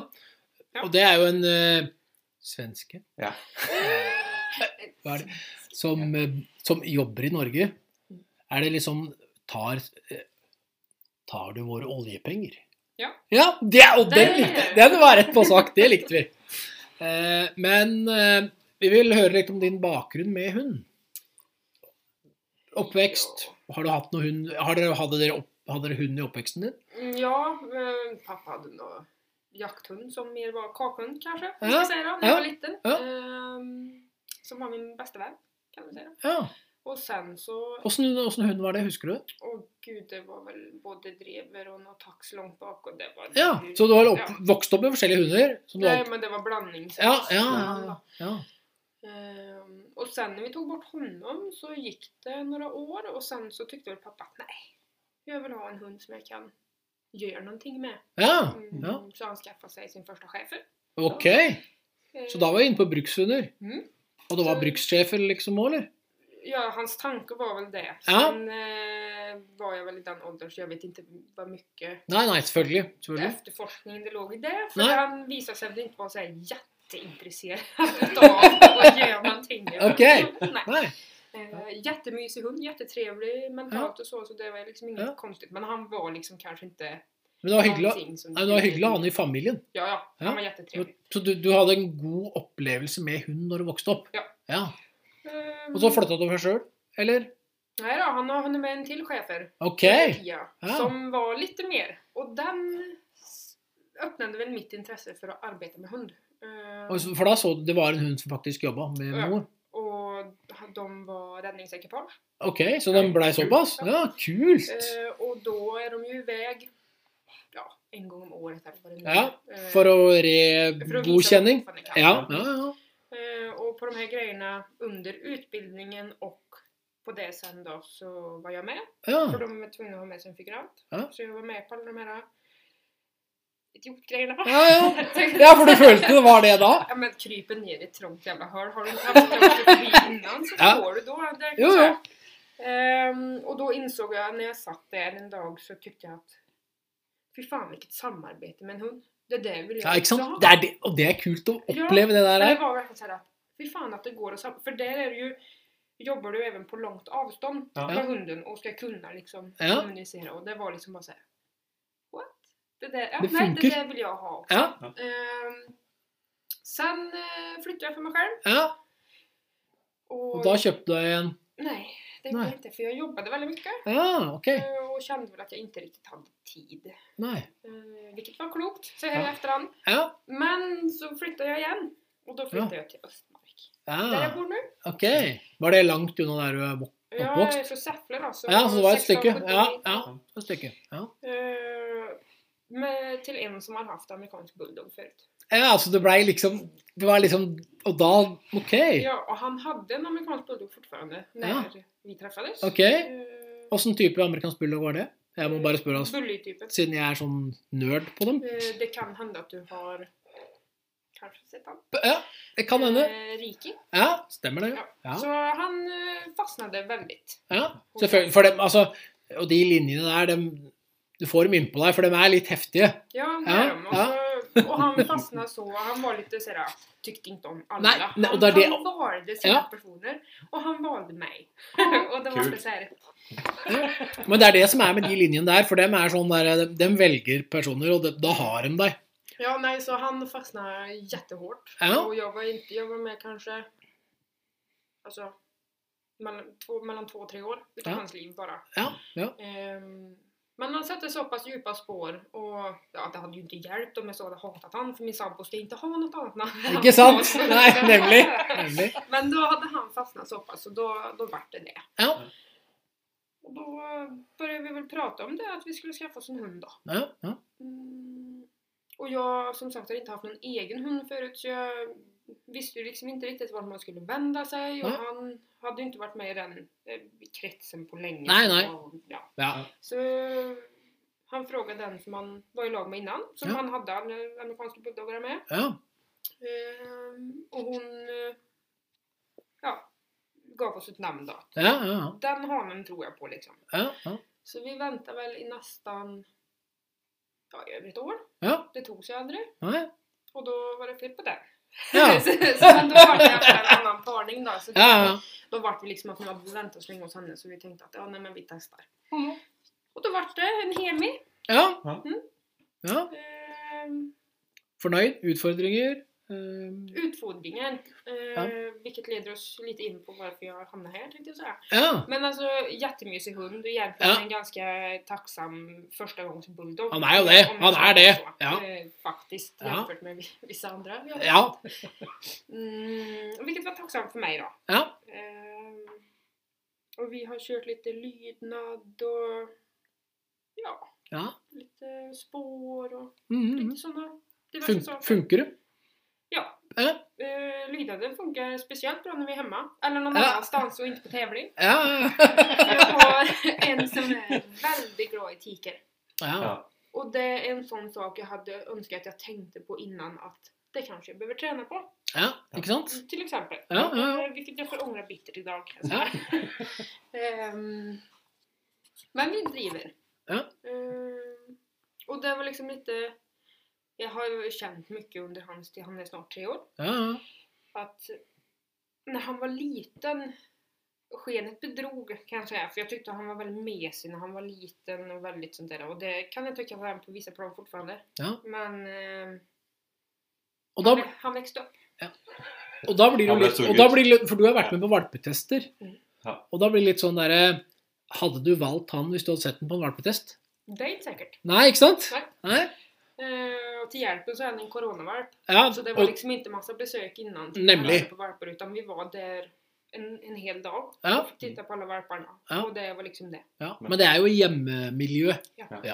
Og det er jo en eh, svenske
Ja.
Hva er det? Som, eh, som jobber i Norge. Er det liksom Tar, eh, tar du våre oljepenger?
Ja.
ja det, og det,
Det-
likte, den var rett på sak. Det likte vi. Eh, men eh, vi vil høre litt om din bakgrunn med hund. Oppvekst. Har du hatt noe hund? Har dere, hadde, dere opp, hadde dere hund i oppveksten din?
Mm, Ja, eh, pappa hade nå jakthund som mer var kakhund kanske, om
Ja,
man ska säga då, när
ja,
jag var liten.
ja.
Ehm, som var min bästa vän, kan man säga.
Ja.
Och sen så,
Åssen åssen hund var det? Husker du det?
åh gud, det var väl både drever och något tax långt bak och det var...
Ja, så du har opp,
Ja.
vokst opp med forskjellige hunder? Som du
Nej,
har,
men det var blandning. så-
ja, ja, ja, ja.
Ehm, och sen när vi tog bort honom så gick det några år och sen så tyckte väl pappa att nej, jag vill ha en hund som jag kan göra någonting med.
ja,
Mm,
ja.
Så han skaffade sig sin första schäfer.
Ok. Så da var vi inne på brukshunder.
Mhm.
Og det var brukssjefer liksom òg, eller?
Ja, hans tanke var väl det.
Ja.
Sen eh, var jag väl i den åldern så jag vet inte vad mycket
Nei, nei, selvfølgelig. selvfølgelig.
efterforskning det låg i det. För
Nej.
han visade sig väl inte vara så här jätteintresserad av att göra någonting.
Okej.
Nej.
Nei.
Eh, jättemysig hund, jättetrevlig mentalt och så, så det var liksom inget
Ja.
konstigt. Men han var liksom kanske inte
Men det var hyggelig, å-
någonting som...
nei, men det var hyggelig å ha han i familien.
Ja, ja.
Ja.
Han var jättetrevlig.
Så du, du hadde en god opplevelse med hund når du vokste opp?
Ja.
Og så flytta du for deg sjøl, eller?
Nej då, Um, han har hunnit med en till chefer.
Ok.
Ja,
Ja.
som var lite mer. Och den s- öppnade väl mitt intresse för att arbeta med hund. Eh,
Og så- For da så du det var en hund som faktisk jobba med
Ja.
mor?
Och de var räddningsekipage.
Ok, så den blei såpass? Ja, kult!
Eh, Och då är de ju iväg ja, en gång om året. Eller vad det nu är.
Ja,
Eh,
For å
för att visa
re-godkjenning?
vad de kan.
Ja, ja, ja.
Eh, Och på de här grejerna under utbildningen och på det sen då så var jag med. För
ja.
de var tvungna att ha med sig en figurant.
Ja.
Så jag var med på alla de eh, här idiotgrejerna.
Ja, ja. ja, for du følte det var det da?
Ja men kryper ner i ett trångt jävla hörn. Har du inte haft något förbi innan så
Ja.
får du då. Det är
Jo,
så här.
jo.
Ehm, och då insåg jag när jag satt där en dag så tyckte jeg att Fy fan vilket samarbete med en hund. Det där vill jag
Ja, ikke
också
sant?
ha.
Det er det, og det er kult å oppleve det
Så
der
det
her.
var verkligen så här att Fy fan att det går att samarbeta. För där är det ju Jobbar du även på långt avstånd
Ja.
med hunden och ska kunna liksom
Ja.
kommunicera och det var liksom bara såhär What? Det där, ja,
Det
nej det
funkar.
där vill jag ha också.
Ja,
Ehm, sen eh, flyttade jag för mig själv
ja.
och,
Og da kjøpte jeg en
Nej, det gjorde
Nej.
jag inte. För jag jobbade väldigt mycket
Ja, ok.
eh, och kände väl att jag inte riktigt hade tid.
Nei.
Eh, Vilket var klokt, så här
Ja.
i efterhand.
Ja.
Men så flyttade jag igen. Och då flyttade jag till Östmark. Där
ja.
jag bor nu.
Ok. Var det langt unna der du er vok-
Jag är
Uppväxt?
från Säffle då. Så
Ja, så det var ett
16,
stycke.
17,
Ja, ja, et stykke. Ja.
Eh, med, till en som har haft amerikansk bulldog förut.
ja, så det blei liksom Det var liksom Og da OK.
Ja, och han hade en amerikansk bulldog fortfarande när
Ja.
vi träffades.
Ok.
Eh,
Åssen type amerikansk bulldog var det? Jeg må bare spørre, altså,
Bully-typen.
siden jeg er sånn nerd på dem.
Eh, det kan hända att du har kanske sett han.
Ja, det Eh, kan hende.
Eh, Riki.
Ja, stemmer det. jo. Ja.
Så han eh, fastnade väldigt.
Ja, selvfølgelig. For dem, altså, og de linjene der, dem, du får dem innpå deg, for de er litt heftige.
Ja, det
Ja,
är de. Och, så, och han fastnade så. Han var sånn lite sådär, tyckte inte om alla.
Nej, nej,
han,
och där det-
han valde sina
Ja.
personer. Och han valde mig. och det var
Kul.
så här,
Men det er det som er med de linjene der, for dem er sånn der, de, dem velger personer, og de, da har de deg.
Ja, nej, så han fastnade jättehårt.
Ja,
Och jag var inte, jag var med kanske, alltså, mellan två, mellan två och tre år utav
Ja.
hans liv bara.
ja, ja.
Ehm, men han satte så pass djupa spår och ja, det hade ju inte hjälpt om jag så hade hatat han för min sambo ska inte ha något annat namn.
Ikke sant? Nei, nemlig. nemlig.
Men då hade han fastnat så pass och då, då vart det det.
Ja.
Och då började vi väl prata om det, att vi skulle skaffa oss en hund då.
Ja, ja.
Mm. Och jag som sagt har inte haft någon egen hund förut så jag visste ju liksom inte riktigt vart man skulle vända sig och
Nej.
han hade ju inte varit med i den eh, kretsen på länge.
Nej, nej.
Och, ja.
ja.
Så han frågade den som han var i lag med innan, som
Ja.
han hade am- amerikanska bulldoggar med.
ja.
Ehm, och hon eh, ja, gav oss ett namn då.
Ja, ja, ja.
Den hanen tror jag på liksom.
ja, ja.
Så vi väntar väl i nästan ja, i över ett år.
Ja.
Det tog sig aldrig.
Nei.
Och då var det fel på den.
Ja.
så, så, men då var det efter en annan parning då. Så
Ja, ja.
Då var det liksom att hon hade väntat så länge hos henne så vi tänkte att ja, nej, men vi testar.
Mm.
Och då var det en hemi.
Ja. ja.
Ehm,
Fornøyd? Utfordringer? Eh,
utfodringen. Eh,
Ja.
Vilket leder oss lite in på varför jag hamnade här tänkte jag säga.
Ja.
Men alltså jättemysig hund. Egentligen
Ja.
en ganska tacksam första gångs bulldog.
Han är ju det.
Om jag
Han
ska
är
säga
det.
så.
Ja.
Eh, Faktiskt
Ja.
jämfört med vi- vissa andra. vi har.
Ja.
Mm, vilket var tacksamt för mig då.
Ja.
Ehm, och vi har kört lite lydnad och ja, eh,
ja.
lite spår och
Mhm.
lite sådana diverse
Fun
saker.
funker det?
Ja.
Ja.
Eh, lydnaden funkar speciellt bra när vi är hemma. Eller någon
Ja.
annanstans och inte på tävling.
Ja.
Jag har en som är väldigt glad i tiker.
ja.
Och det är en sån sak jag hade önskat att jag tänkte på innan att det kanske jag behöver träna på.
ja. Ikke sant?
Till exempel.
Ja, ja, ja.
Eh, Vilket jag får ångra bittert idag. kan jag
Ja.
säga. Ehm, men vi driver.
Ja.
Ehm, och det var liksom lite... Jag har ju känt mycket under hans tid, han är snart tre år
Ja. ja.
att när han var liten Skenet bedrog kan jag säga, för jag tyckte han var väldigt mesig när han var liten och väldigt sånt där. Och det kan jag tycka var han på vissa plan fortfarande.
Ja.
Men eh,
Og da,
han, han växte upp.
og da blir det
Han
jo
ble
litt,
stor
og da
gutt.
blir det, litt- For du har vært med på valpetester.
Mhm.
Ja.
Og da blir det litt sånn derre Hadde du valgt han hvis du hadde sett den på en valpetest?
Det är inte säkert.
Nei, ikke sant?
Nei.
Nei?
Eh, och till hjälpen så är han en coronavalp.
Ja.
Så det var
Og,
liksom inte massa besök innan.
Nämligen.
På valpar, utan vi var där en, en hel dag
ja.
och tittade på alla valparna.
Ja.
Och det var liksom det.
ja. Men det er jo hjemmemiljø.
Ehm,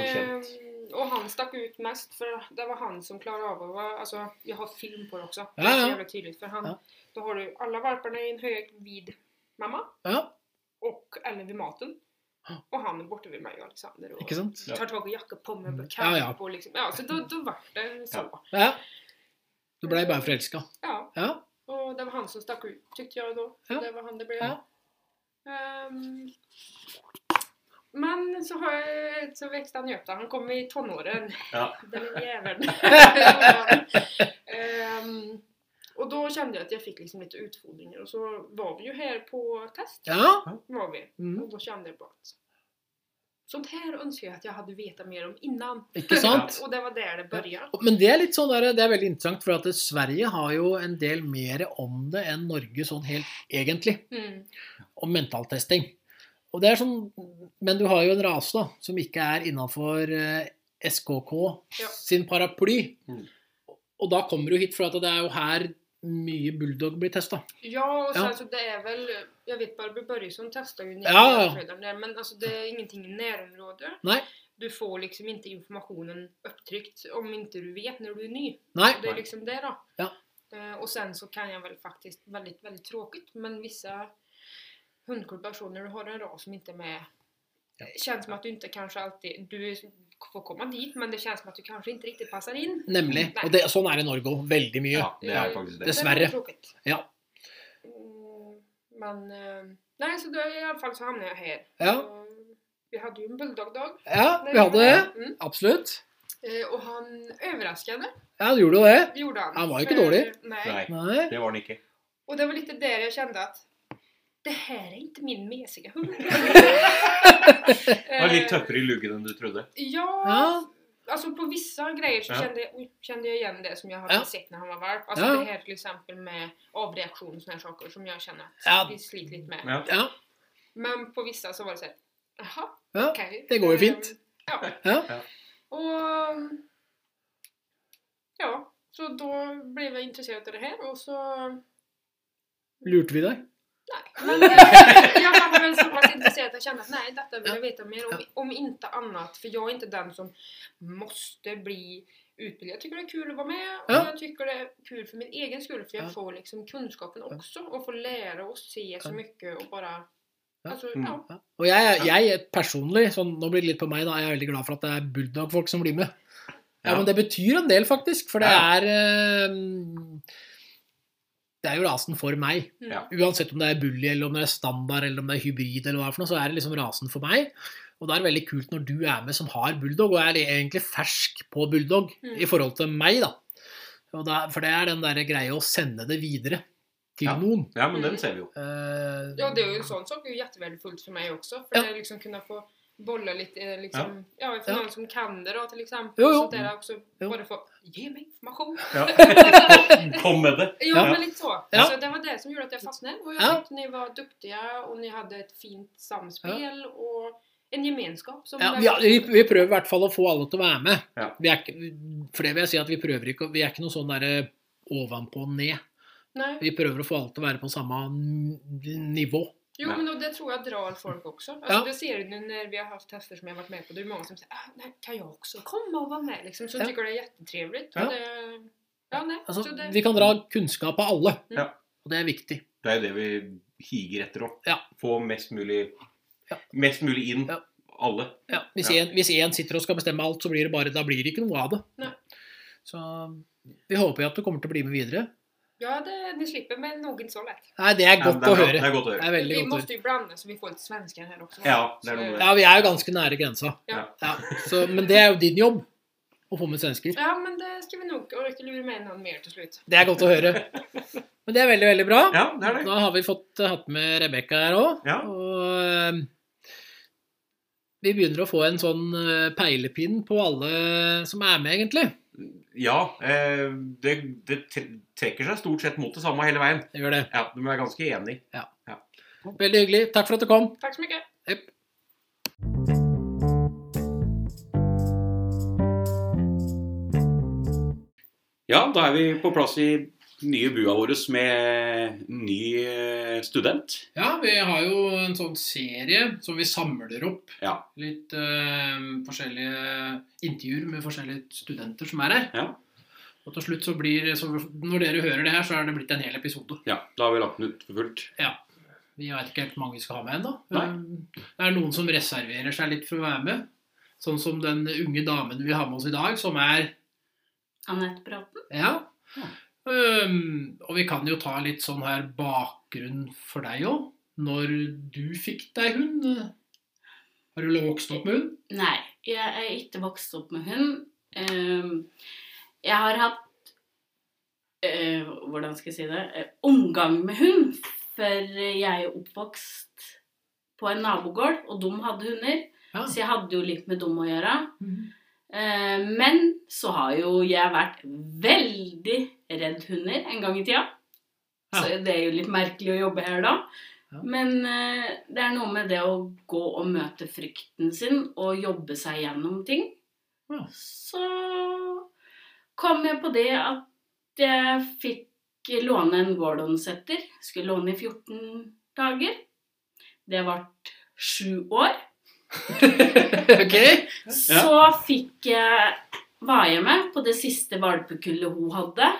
Godkänt.
och han stack ut mest för det var han som klarade av att vara, alltså jag har film på det också. Det
Ja,
är så
ja.
jävla tydligt för han,
Ja.
då har du alla valparna i en hög vid mamma
Ja.
och eller vid maten.
Ja.
Och han är borta vid mig och Alexander och
Ikke sant? Mm.
tar tag i jacka på mig och
Ja, ja.
och liksom, ja så då, då var det sånn. så. Ja.
Ja. Du blei bare forelska. Ja.
och det var han som stack ut tyckte jag då. Så
Ja.
Det var han det blev.
Ja.
Ehm, men så, har jag, så växte han ju upp då. Han kom i tonåren.
Ja.
Den jäveln. Ehm, och då kände jag att jag fick liksom lite utfodringar och så var vi ju här på test.
Ja.
Var vi.
Mhm.
Och då kände jag bara att sånt här önskar jag att jag hade vetat mer om innan.
Ikke sant?
och det var där det började.
Men det er litt sånn der, det er veldig interessant, for at Sverige har jo en del mer om det enn Norge sånn helt egentlig,
Mm.
om mentaltesting. Og det er sånn, men du har jo en rase da, som ikke er innenfor eh, SKK
Ja.
sin paraply.
Mm.
Og da kommer du hit, for at det er jo her mye bulldog blir testa.
Ja, och sen
Ja.
så altså, det är väl, jag vet Barbro Börjesson testar ju
Ja, ja.
närområden där, men alltså det är ingenting i närområde.
Nej.
Du får liksom inte informationen upptryckt om inte du vet när du är ny.
Nei.
Och det är liksom det då.
Ja.
Eh, och sen så kan jag väl faktiskt, väldigt, väldigt tråkigt, men vissa hundklubbar så när du har en ras som inte är med Känns som att du inte kanskje alltid Du får komma dit, men det känns som att du kanske inte riktigt passar in.
Nemlig.
Nei.
Og det, sånn er det i Norge òg. Veldig mye.
Ja, det er faktisk det.
Dessverre.
Mm. Det är tråkigt.
Ja.
Mm, Men eh, Nej, så då i alla fall så hamnade jag här.
Ja.
Eh, Vi hade ju en bulldogdag.
ja vi hadde det.
Mm.
Absolutt.
Eh, Och han överraskade,
Ja, du gjorde jo det.
gjorde han.
Han var ju
För-
inte dålig.
Nej.
Nei,
Nei.
det var den ikke.
Och det var lite där jag kände att det här är inte min mesiga hund.
Den var litt tøffere i luggen enn du trodde.
Ja,
Eh, Ja. Mm.
alltså på vissa grejer så
Ja.
kände, jag, oj, kände jag igen det som jag hade
Ja.
sett när han var valp. Alltså
Ja.
det här till exempel med avreaktion och såna här saker som jag känner att
Ja.
vi sliter lite med.
Ja.
Ja.
Men på vissa så var det såhär, jaha,
Ja,
okej.
det går ju
Ehm,
fint.
Ja.
Ja.
Ja.
Och ja, så då blev jag intresserad av det här og så
Lurte vi deg?
men eh, jag var väl så pass intresserad att jag kände att nej, detta vill jag veta mer om. Om inte annat, för jag är inte den som måste bli utbildad. Jag tycker det är kul att vara med och
Ja.
jag tycker det är kul för min egen skull för
Ja.
jag får liksom kunskapen också och får lära och se så
Ja.
mycket og bara...
Ja.
Alltså,
Mm.
ja.
Ja. Og jeg, jeg personlig, sånn, nå blir det litt på meg da, jeg er veldig glad for at det er bulldog-folk som blir med. Ja,
Ja.
men det betyr en del faktisk, for det
Ja.
er eh, Det er jo rasen for meg.
Mm.
Ja.
Uansett om det er bully, eller om det er standard, eller om det er hybrid, eller hva det er for noe, så er det liksom rasen for meg. Og det er veldig kult når du er med som har bulldog, og er egentlig fersk på bulldog
Mm.
i forhold til meg, da. Og da. For det er den der greia å sende det videre til
Ja.
noen.
Ja, men den ser vi jo.
Eh,
ja, det är ju en sån sak är ju jättevärdefullt för mig också. För
Ja.
det är liksom kunna få bolla lite eh, liksom, ja, för
Ja.
någon som kan det då till exempel.
Jo,
och
jo.
Sånt där också,
Jo.
Både få ge mig information
Ja. Kom med det!
Ja,
Ja.
men litt så.
Ja.
Alltså, det var det som gjorde at jeg fastnade. Og jeg
Ja.
syntes dere var duktige, og dere hadde et fint samspill og en gemenskap som
Ja,
det-
vi, har- vi, vi prøver i hvert fall å få alle til å være med.
Ja.
Vi er, ikke- for det vil jeg si at vi prøver ikke å- Vi er ikke noe sånn derre ovenpå og ned.
Nei.
Vi prøver å få alle til å være på samme n- nivå.
Jo,
Nei.
men og det tror jeg drar folk også. Altså,
Ja.
Det ser du når vi har hatt tester som jeg har vært med på. Det er jo mange som sier ah, nei, 'Kan jeg også komme og være med?' liksom. Så
Ja.
tycker det er kjempetrivelig.
Ja.
Ja. Det... ja, nei.
Altså,
så det...
vi kan dra kunnskap av alle,
Ja.
og det er viktig.
Det er jo det vi higer etter òg.
Ja.
Få mest mulig,
Ja.
mest mulig inn.
Ja.
Alle.
Ja, hvis,
Ja.
En, hvis en sitter og skal bestemme alt, så blir det bare, da blir det ikke noe av det.
Nei.
Så vi håper jo at du kommer til å bli med videre.
ja det... ni slipper med noen så lett.
Nei, det er
Ja,
godt
det,
å
er bra.
høre.
det er godt å
Det
høre.
er veldig
Vi
godt å høre.
måste jo blande så vi får litt svensker her også.
Ja, det er noe med det.
Ja, vi er jo ganske nære grensa.
Ja.
Ja, så, men det er jo din jobb å få med svensker.
Ja, men det skal vi nok orke lure med noen mer til slutt.
Det er godt å høre. Men det er veldig, veldig bra.
Ja, det er det.
Da har vi fått eh, hatt med Rebekka her òg.
Ja.
Og eh, vi begynner å få en sånn eh, peilepinn på alle som er med, egentlig.
Ja, eh, det, det tre- trekker seg stort sett mot det samme hele veien.
Det gjør det.
Ja, Du må være ganske enig.
Veldig hyggelig. Takk for at du kom.
Takk så mye.
Hepp.
Ja, da er vi på plass i nye bua vår med ny eh, student.
Ja, vi har jo en sånn serie som vi samler opp.
Ja.
Litt eh, forskjellige intervjuer med forskjellige studenter som er her.
Ja.
Og til slutt så blir så Når dere hører det her, så er det blitt en hel episode.
Ja, da har vi lagt den ut for fullt.
Vi veit ikke helt hvor mange vi skal ha med
Nei.
ennå. Um, Det er noen som reserverer seg litt for å være med. Sånn som den unge damen vi har med oss i dag, som er
Anette Bråten.
Ja. Um, og vi kan jo ta litt sånn her bakgrunn for deg òg. Når du fikk deg hund eh, Har du vokst opp med hund?
Nei, jeg er ikke vokst opp med hund. Ehm, Jeg har hatt eh, Hvordan skal jeg si det? Eh, Omgang med hund. For jeg er oppvokst på en nabogård, og de hadde hunder.
Ja.
Så jeg hadde jo litt med dem å gjøre.
Mm-hmm.
Eh, Men så har jo jeg vært veldig redd hunder en gang i tida.
Ja.
Så det er jo litt merkelig å jobbe her da.
Ja.
Men eh, det er noe med det å gå og møte frykten sin og jobbe seg gjennom ting.
Ja.
eh,
Så kom jeg på det at jeg fikk fikk låne en Gordon-setter. Skulle låne i 14 dager. Det vart sju år.
ok?
Så fikk jeg var jeg med på det siste valpekullet hun hadde.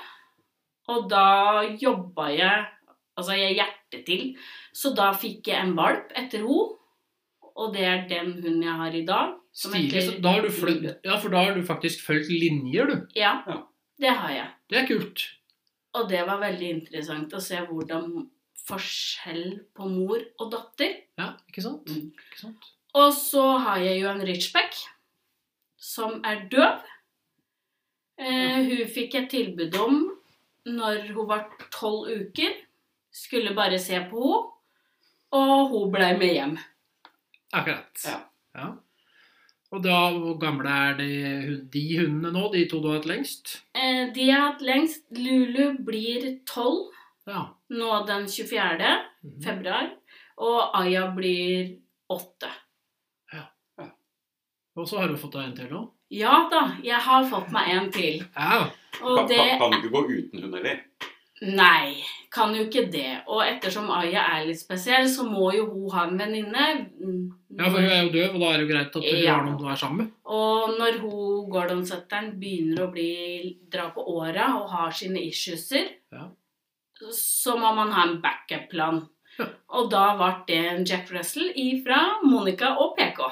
Og da jobba jeg Altså, jeg hjertet til. Så da fikk jeg en valp etter hun. Og det er den hunden jeg har i dag. som
Stilig.
heter
Så da har du
Lulu.
fulgt, ja, for da har du faktisk fulgt linjer, du.
Ja,
Ja.
det har jeg.
Det er kult.
Og det var veldig interessant å se hvordan forskjell på mor og datter.
Ja, ikke sant?
Mm.
Ikke sant?
Og så har jeg jo en Richback som er døv. Eh, hun fikk et tilbud om når hun var tolv uker. Skulle bare se på henne, og hun ble med hjem.
Akkurat.
Ja.
Ja. Og da, hvor gamle er de, hun- de hundene nå, de to du har hatt lengst?
Eh, de jeg har hatt lengst, Lulu, blir tolv
Ja.
nå den 24.
Mhm.
februar. Og Aya blir åtte.
Og så har du fått deg en til nå.
Ja da, jeg har fått meg en til.
Ja.
Og
Kan,
det
kan, kan du ikke gå uten hund heller?
Nei, kan jo ikke det. Og ettersom Aya er litt spesiell, så må jo hun ha en venninne.
ja, for hun er jo døv, og da er det jo greit at du
Ja.
har noen du er sammen med.
Og når hun Gordon-søtteren begynner å bli, dra på åra og har sine issueser,
Ja.
så må man ha en backup-plan.
Ja.
Og da ble det en Jack Russell ifra Monica og PK.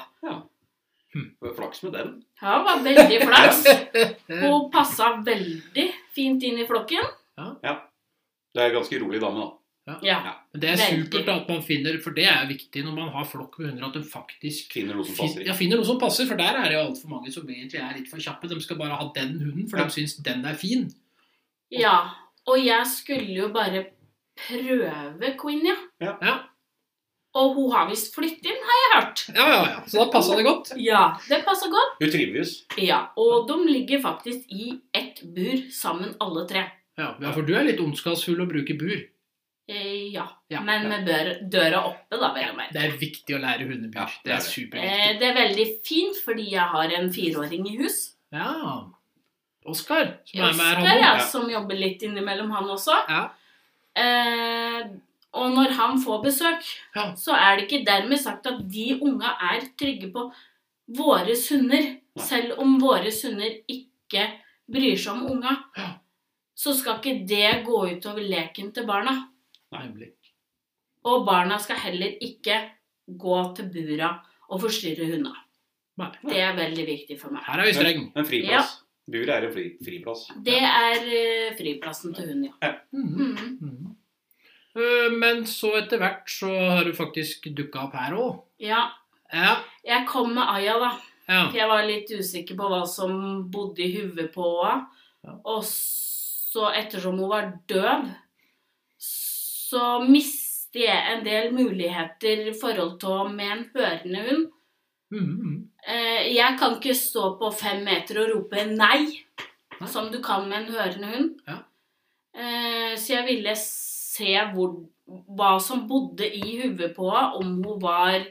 Det var Flaks med den.
Ja, det var veldig flaks.
Eh,
Hun passa veldig fint inn i flokken.
Det er en ganske rolig dame, da.
Ja.
Men det er
veldig.
supert da, at man finner, for det er viktig når man har flokk med hunder, at de faktisk
Finner noe som
fin,
passer
ja,
inn.
finner noe som passer, for der er det jo altfor mange som egentlig er litt for kjappe. De skal bare ha den hunden, for
Ja.
de syns den er fin.
Ja, og jeg skulle jo bare prøve Queen, ja.
Ja,
Og hun har visst flyttet inn, har jeg hørt.
ja, ja. ja. Så da passa det godt.
Ja, det passer godt.
Hun trives.
Ja, og de ligger faktisk i ett bur sammen, alle tre.
Ja, ja, for du er litt ondskapsfull og bruker bur.
Eh, ja.
Ja,
men
ja.
med bør- døra oppe, da, vel å merke.
Det er viktig å lære hundebur.
Ja,
det
det er
er
det.
superviktig.
Eh, det er veldig fint, fordi jeg har en fireåring i hus.
Ja. Oskar, som er med her,
Oskar,
han
ja,
nå.
som jobber litt innimellom, han også.
Ja.
Eh, og når han får besøk,
Ja.
så er det ikke dermed sagt at de unga er trygge på våre hunder. Selv om våre hunder ikke bryr seg om unga,
Ja.
så skal ikke det gå utover leken til barna.
Nemlig.
Og barna skal heller ikke gå til bura og forstyrre hundene.
Nei.
Det er veldig viktig for meg.
Her er vi streng.
En friplass. Buret er en fri, friplass.
Det er eh, friplassen til hunden, ja.
Mhm.
Mhm.
Mhm. Eh, Men så etter hvert så har du faktisk dukka opp her òg.
Ja,
Ja.
jeg kom med Aya, da.
ja.
For jeg var litt usikker på hva som bodde i huet på henne.
Ja.
Og så, ettersom hun var døv, så mistet jeg en del muligheter i forhold til henne med en hørende hund.
Mhm.
Eh, Jeg kan ikke stå på fem meter og rope nei,
Nei.
som du kan med en hørende hund.
Ja.
Eh, Så jeg ville se hvor, hva som bodde i huet på henne, om hun var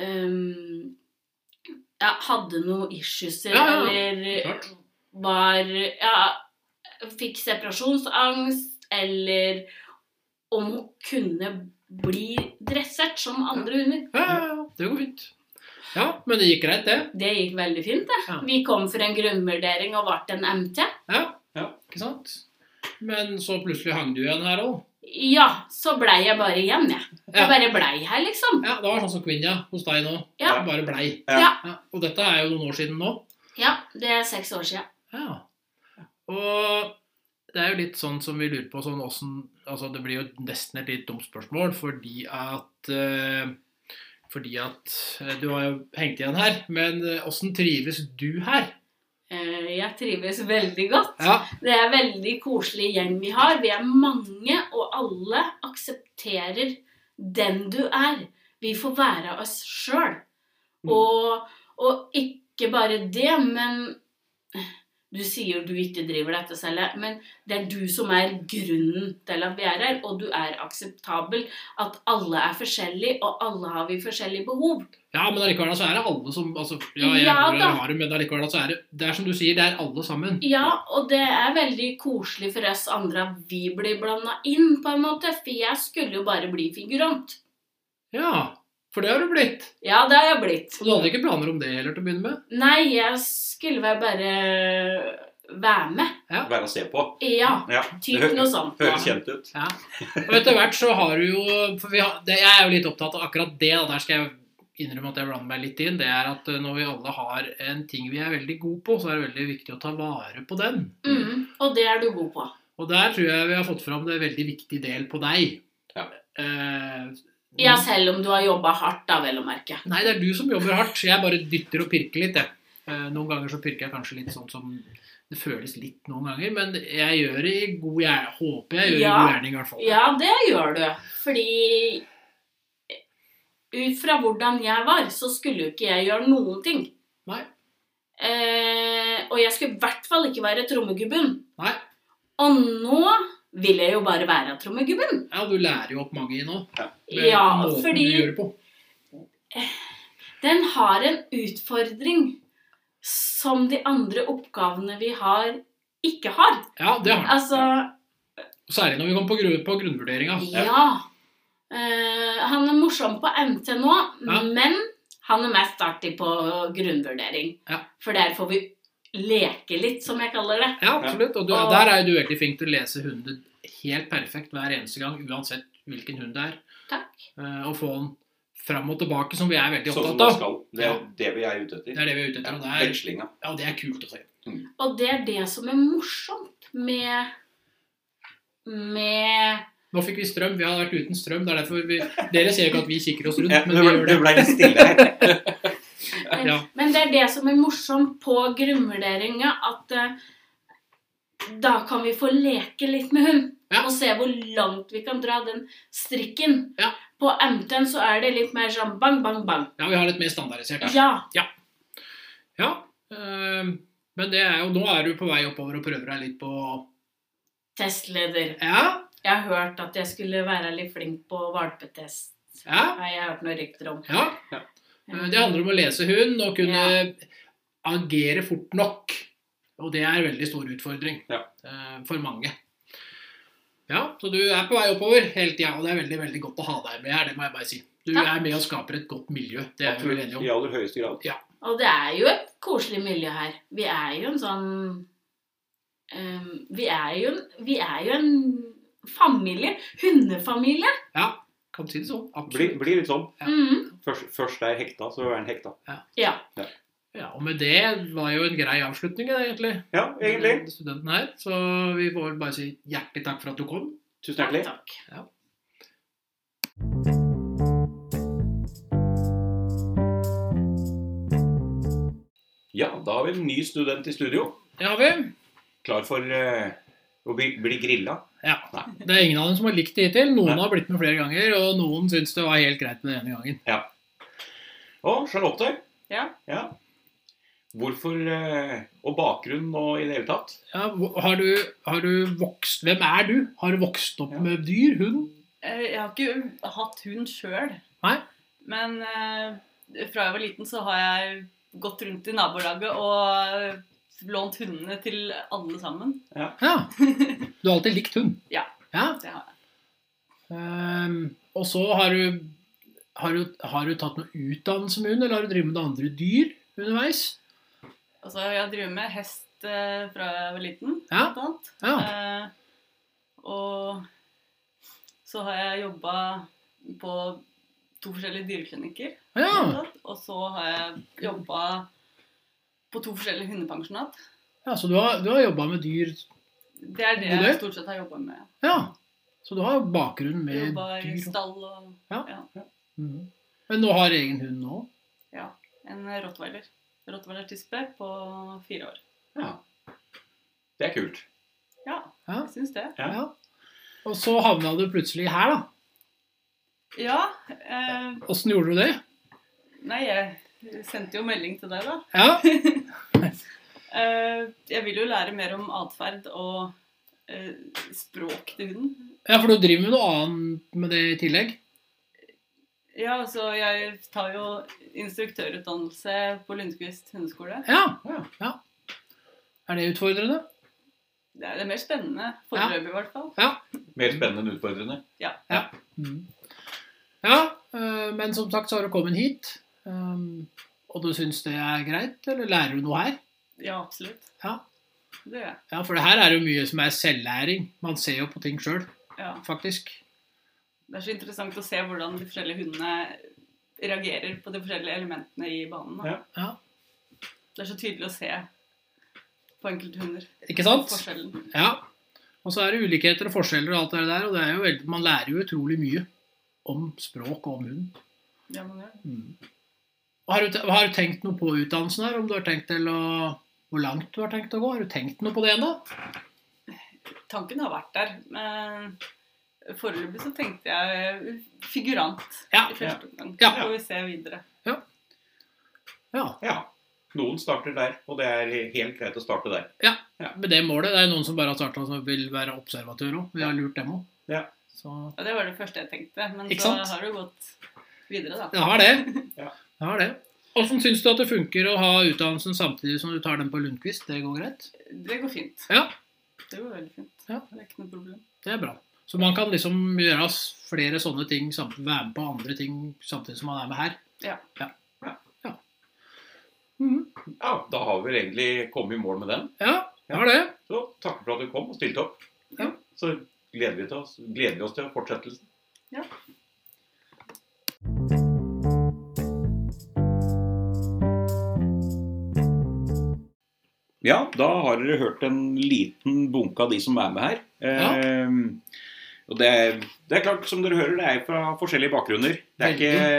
ehm, ja, Hadde noen issues
Ja, ja, ja.
eller
Klart.
var ja, Fikk separasjonsangst, eller om hun kunne bli dressert som andre hunder.
Ja, ja, ja. Det går fint. Ja, men det gikk greit, det.
Det gikk veldig fint, det.
Ja.
Vi kom for en grunnvurdering og ble en MT.
Ja.
Ja.
Ikke sant? Men så plutselig hang du igjen her òg.
Ja, så blei jeg bare igjen, jeg.
Ja.
Jeg bare blei her, liksom.
Ja, det var sånn som Kvinja hos deg nå.
Ja.
Bare blei.
Ja.
Og dette er jo noen år siden nå.
Ja, det er seks år siden.
Ja. Og det er jo litt sånn som vi lurer på sånn åssen Altså, det blir jo nesten et litt dumt spørsmål fordi at eh, Fordi at eh, Du har jo hengt igjen her, men eh, åssen trives du her?
Eh, Jeg trives veldig godt.
Ja.
Det er en veldig koselig gjeng vi har. Vi er mange, og alle aksepterer den du er. Vi får være oss sjøl. Og, og ikke bare det, men Du sier du ikke driver dette selv, men det er du som er grunnen til at vi er her. Og du er akseptabel. At alle er forskjellige, og alle har vi forskjellige behov.
Ja, men allikevel så er det alle som altså, Ja, jeg
Ja,
bor
da.
her i Harum, men allikevel så er det Det er som du sier, det er alle sammen.
Ja, og det er veldig koselig for oss andre at vi blir blanda inn, på en måte. For jeg skulle jo bare bli figurant.
Ja, for det har du blitt.
Ja, det har jeg blitt.
Og du hadde ikke planer om det heller til å begynne med?
Nei, jeg skulle vel bare være med.
Være å se på.
Ja. sånn.
Ja,
Typ noe sånt. da.
høres kjent ut.
Ja. Og etter hvert så har du jo For vi har, det, jeg er jo litt opptatt av akkurat det, da. Der skal jeg innrømme at jeg blander meg litt inn. Det er at eh, når vi alle har en ting vi er veldig gode på, så er det veldig viktig å ta vare på den.
Mm, og det er du god på.
Og der tror jeg vi har fått fram det veldig viktig del på deg.
Ja.
Eh,
Ja, selv om du har jobba hardt, da, vel å merke.
Nei, det er du som jobber hardt. Jeg bare dytter og pirker litt, jeg. Eh, Noen ganger så pirker jeg kanskje litt sånn som det føles litt noen ganger, men jeg gjør det i god gjerning. Håper jeg gjør det i
Ja.
god gjerning, i hvert fall.
Ja, det gjør du. Fordi ut fra hvordan jeg var, så skulle jo ikke jeg gjøre noen ting.
Nei.
Eh, og jeg skulle i hvert fall ikke være trommegubben.
Nei.
Og nå vil jeg jo bare være trommegubben.
Ja, du lærer jo opp mange i nå. med
Ja,
måten
fordi
du gjør det på.
den har en utfordring som de andre oppgavene vi har, ikke har.
Ja, det har du.
Altså,
Særlig når vi kommer på, gru- på grunnvurderinga.
Ja. Eh, han er morsom på MT nå,
Ja.
men han er mest artig på grunnvurdering.
Ja.
For der får vi leke litt, som jeg kaller det.
Ja, absolutt. Og du,
Og-
der er jo du veldig flink til å lese hunden helt perfekt hver eneste gang, uansett hvilken hund det er.
Takk.
Eh, Og få den fram og tilbake, som vi er veldig
Sånn som
opptatt
man
av.
skal. Det er det vi er ute
Det
etter.
er det vi er
Ja,
ute etter. og det er-
Vekslinga.
Ja, det er kult å se.
Og det er det som er morsomt med med
Nå fikk vi strøm. Vi hadde vært uten strøm. Det er derfor vi, Dere ser jo ikke at vi kikker oss rundt,
Ja,
men
det
vi
ble,
gjør
det
det.
ble litt stille her.
men,
Ja.
men det er det som er morsomt på grunnvurderinga, at eh, da kan vi få leke litt med hund.
Ja.
Og se hvor langt vi kan dra den strikken.
Ja.
På MT-en så er det litt mer sånn bang, bang, bang.
Ja, vi har litt mer standardisert. Ja.
Ja.
ja. ehm, men det er jo, nå er du på vei oppover og prøver deg litt på
Testleder.
Ja,
Jeg har hørt at jeg skulle være litt flink på valpetest.
ja,
Har jeg hørt noen rykter om.
ja. Eh, Det handler om å lese hund og kunne agere fort nok. Og det er en veldig stor utfordring
Ja.
eh, for mange. Ja, så du er på vei oppover hele tida, og det er veldig veldig godt å ha deg med her. det må jeg bare si. Du
Takk.
er med og skaper et godt miljø. Det er vi vel enige om.
Absolutt. I aller høyeste grad.
Og det er jo et koselig miljø her. Vi er jo en sånn ehm, vi, er jo en, vi er jo en familie. Hundefamilie.
Kan si det sånn.
Blir,
Absolutt.
blir litt sånn.
Ja.
Mhm.
Først, først er hekta, så er den hekta.
Ja.
Ja, og med det var jo en grei avslutning, det, egentlig.
Ja, egentlig.
Med Studenten her. Så vi får bare si hjertelig takk for at du kom.
Tusen hjertelig.
Takk.
Ja, da har vi en ny student i studio.
Det har vi.
Klar for eh, å bli, bli grilla.
Ja.
Nei.
Det er ingen av dem som har likt det hittil. Noen
Nei.
har blitt med flere ganger, og noen syns det var helt greit med den ene gangen.
Å, Charlotte.
Ja.
Hvorfor eh, Og bakgrunn og i det hele tatt?
Ja, hvor- har, du, har du vokst Hvem er du? Har du vokst opp
Ja.
med dyr? Hund?
Eh, Jeg har ikke hatt hund sjøl.
Nei.
Men eh, fra jeg var liten, så har jeg gått rundt i nabolaget og eh, lånt hundene til alle sammen.
Ja. Du har alltid likt hund?
Ja,
ja.
det har
Ehm, og så har du, har, du, har du tatt noe utdannelse med hund, eller har du drevet med andre dyr underveis?
Og så har jeg drevet med hest eh, fra jeg var liten.
Ja.
blant annet.
Ja.
Eh, og så har jeg jobba på to forskjellige dyreklinikker. blant
Ja,
annet. Og så har jeg jobba på to forskjellige hundepensjonat.
ja så du har, du har jobba med dyr
Det er det
Du
jeg
det?
stort sett har jobba med.
Ja. Så du har bakgrunn med
Jobba i
dyr.
stall og
Mhm. Men du har egen hund nå?
En rottweiler. Rottweiler tispe på fire år.
Det er kult.
Ja,
Ja.
jeg syns det.
Ja.
Og så havna du plutselig her, da.
Ja. Eh,
Åssen gjorde du det?
nei, jeg sendte jo melding til deg, da.
Ja.
Eh, jeg vil jo lære mer om atferd og eh, språk til hunden.
Ja, for du driver med noe annet med det i tillegg?
Ja, så jeg tar jo instruktørutdannelse på Lundqvist hundeskole.
Ja. ja, ja. Er det utfordrende?
Det er det er mer spennende foreløpig, i hvert fall.
Mer spennende enn utfordrende.
Ja.
Mm. Ja, eh, men som sagt så har du kommet hit. ehm, Og du syns det er greit, eller lærer du noe her?
Ja, absolutt.
Ja.
Det gjør jeg.
ja, for det her er jo mye som er selvlæring. Man ser jo på ting sjøl,
Ja.
faktisk.
Det er så interessant å se hvordan de forskjellige hundene reagerer på de forskjellige elementene i banen. da.
Ja.
Det er så tydelig å se på enkelte hunder.
Ikke sant?
Forskjellen.
Ja. Og så er det ulikheter og forskjeller og alt det der, og det er jo veldig, man lærer jo utrolig mye om språk og om hund.
Ja, men det-
Mm. Har du, te- har du tenkt noe på utdannelsen her? Om du har tenkt til å Hvor langt du har tenkt å gå? Har du tenkt noe på det ennå?
Tanken har vært der, men foreløpig så tenkte jeg figurant
Ja.
i første omgang.
Ja.
Så får vi se videre.
Ja.
Ja. Noen starter der, og det er helt greit å starte der.
ja. Med det målet. Det er noen som bare har starta som vil være observatør òg. Vi har lurt dem òg.
Ja.
Så
Ja, det var det første jeg tenkte, men
Ikke
så
sant?
har det jo gått videre, da.
jeg har det.
Ja.
Jeg har det. Åssen syns du at det funker å ha utdannelsen samtidig som du tar den på Lundqvist? Det går greit?
Det går fint.
Ja.
Det går veldig fint.
Ja.
Det er ikke noe problem.
Det er bra. Så man kan liksom gjøre s- flere sånne ting, samt- være med på andre ting samtidig som man er med her.
Ja.
Ja.
Ja.
Ja.
Ja, Da har vi vel egentlig kommet i mål med den.
ja, jeg har det.
Så takker for at du kom og stilte opp.
Ja.
Så gleder vi, til oss, gleder vi oss til fortsettelsen. Ja, da har dere hørt en liten bunke av de som er med her. Eh, og det er, det er klart, som dere hører, det er fra forskjellige bakgrunner. Det er ikke,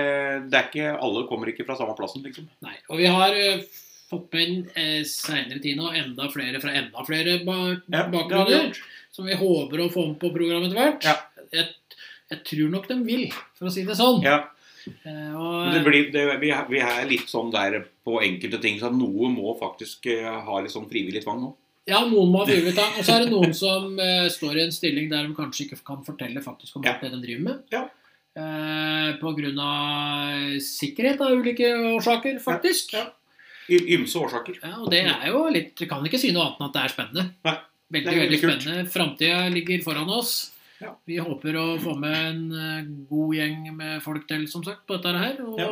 det er ikke, Alle kommer ikke fra samme plassen, liksom.
Nei, og vi har eh, fått med inn eh, seinere tid nå enda flere fra enda flere ba
Ja, det har vi
bakgrunner. Som vi håper å få med på programmet etter hvert.
Ja.
Jeg, jeg tror nok de vil, for å si det sånn.
Ja,
Eh,
Men
og,
det blir, det, vi, er, vi er litt sånn der på enkelte ting, så noe må faktisk eh, ha litt sånn frivillig tvang nå.
Ja, noen må ha frivillig ta. Og så er det noen som eh, står i en stilling der de kanskje ikke kan fortelle faktisk om
Ja.
det de driver med.
Ja.
Eh, på grunn av sikkerhet av ulike årsaker, faktisk.
Ja, I ymse årsaker.
Ja, og det er jo litt Vi kan ikke si noe annet enn at det er spennende.
Nei,
veldig,
det er
veldig
veldig kult.
spennende. Framtida ligger foran oss.
Ja.
Vi håper å få med en eh, god gjeng med folk til, som sagt, på dette her. Og
Ja.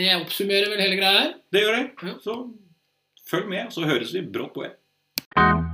det oppsummerer vel hele greia her.
Det gjør det.
Ja.
Så følg med, så høres vi brått på igjen.
Thank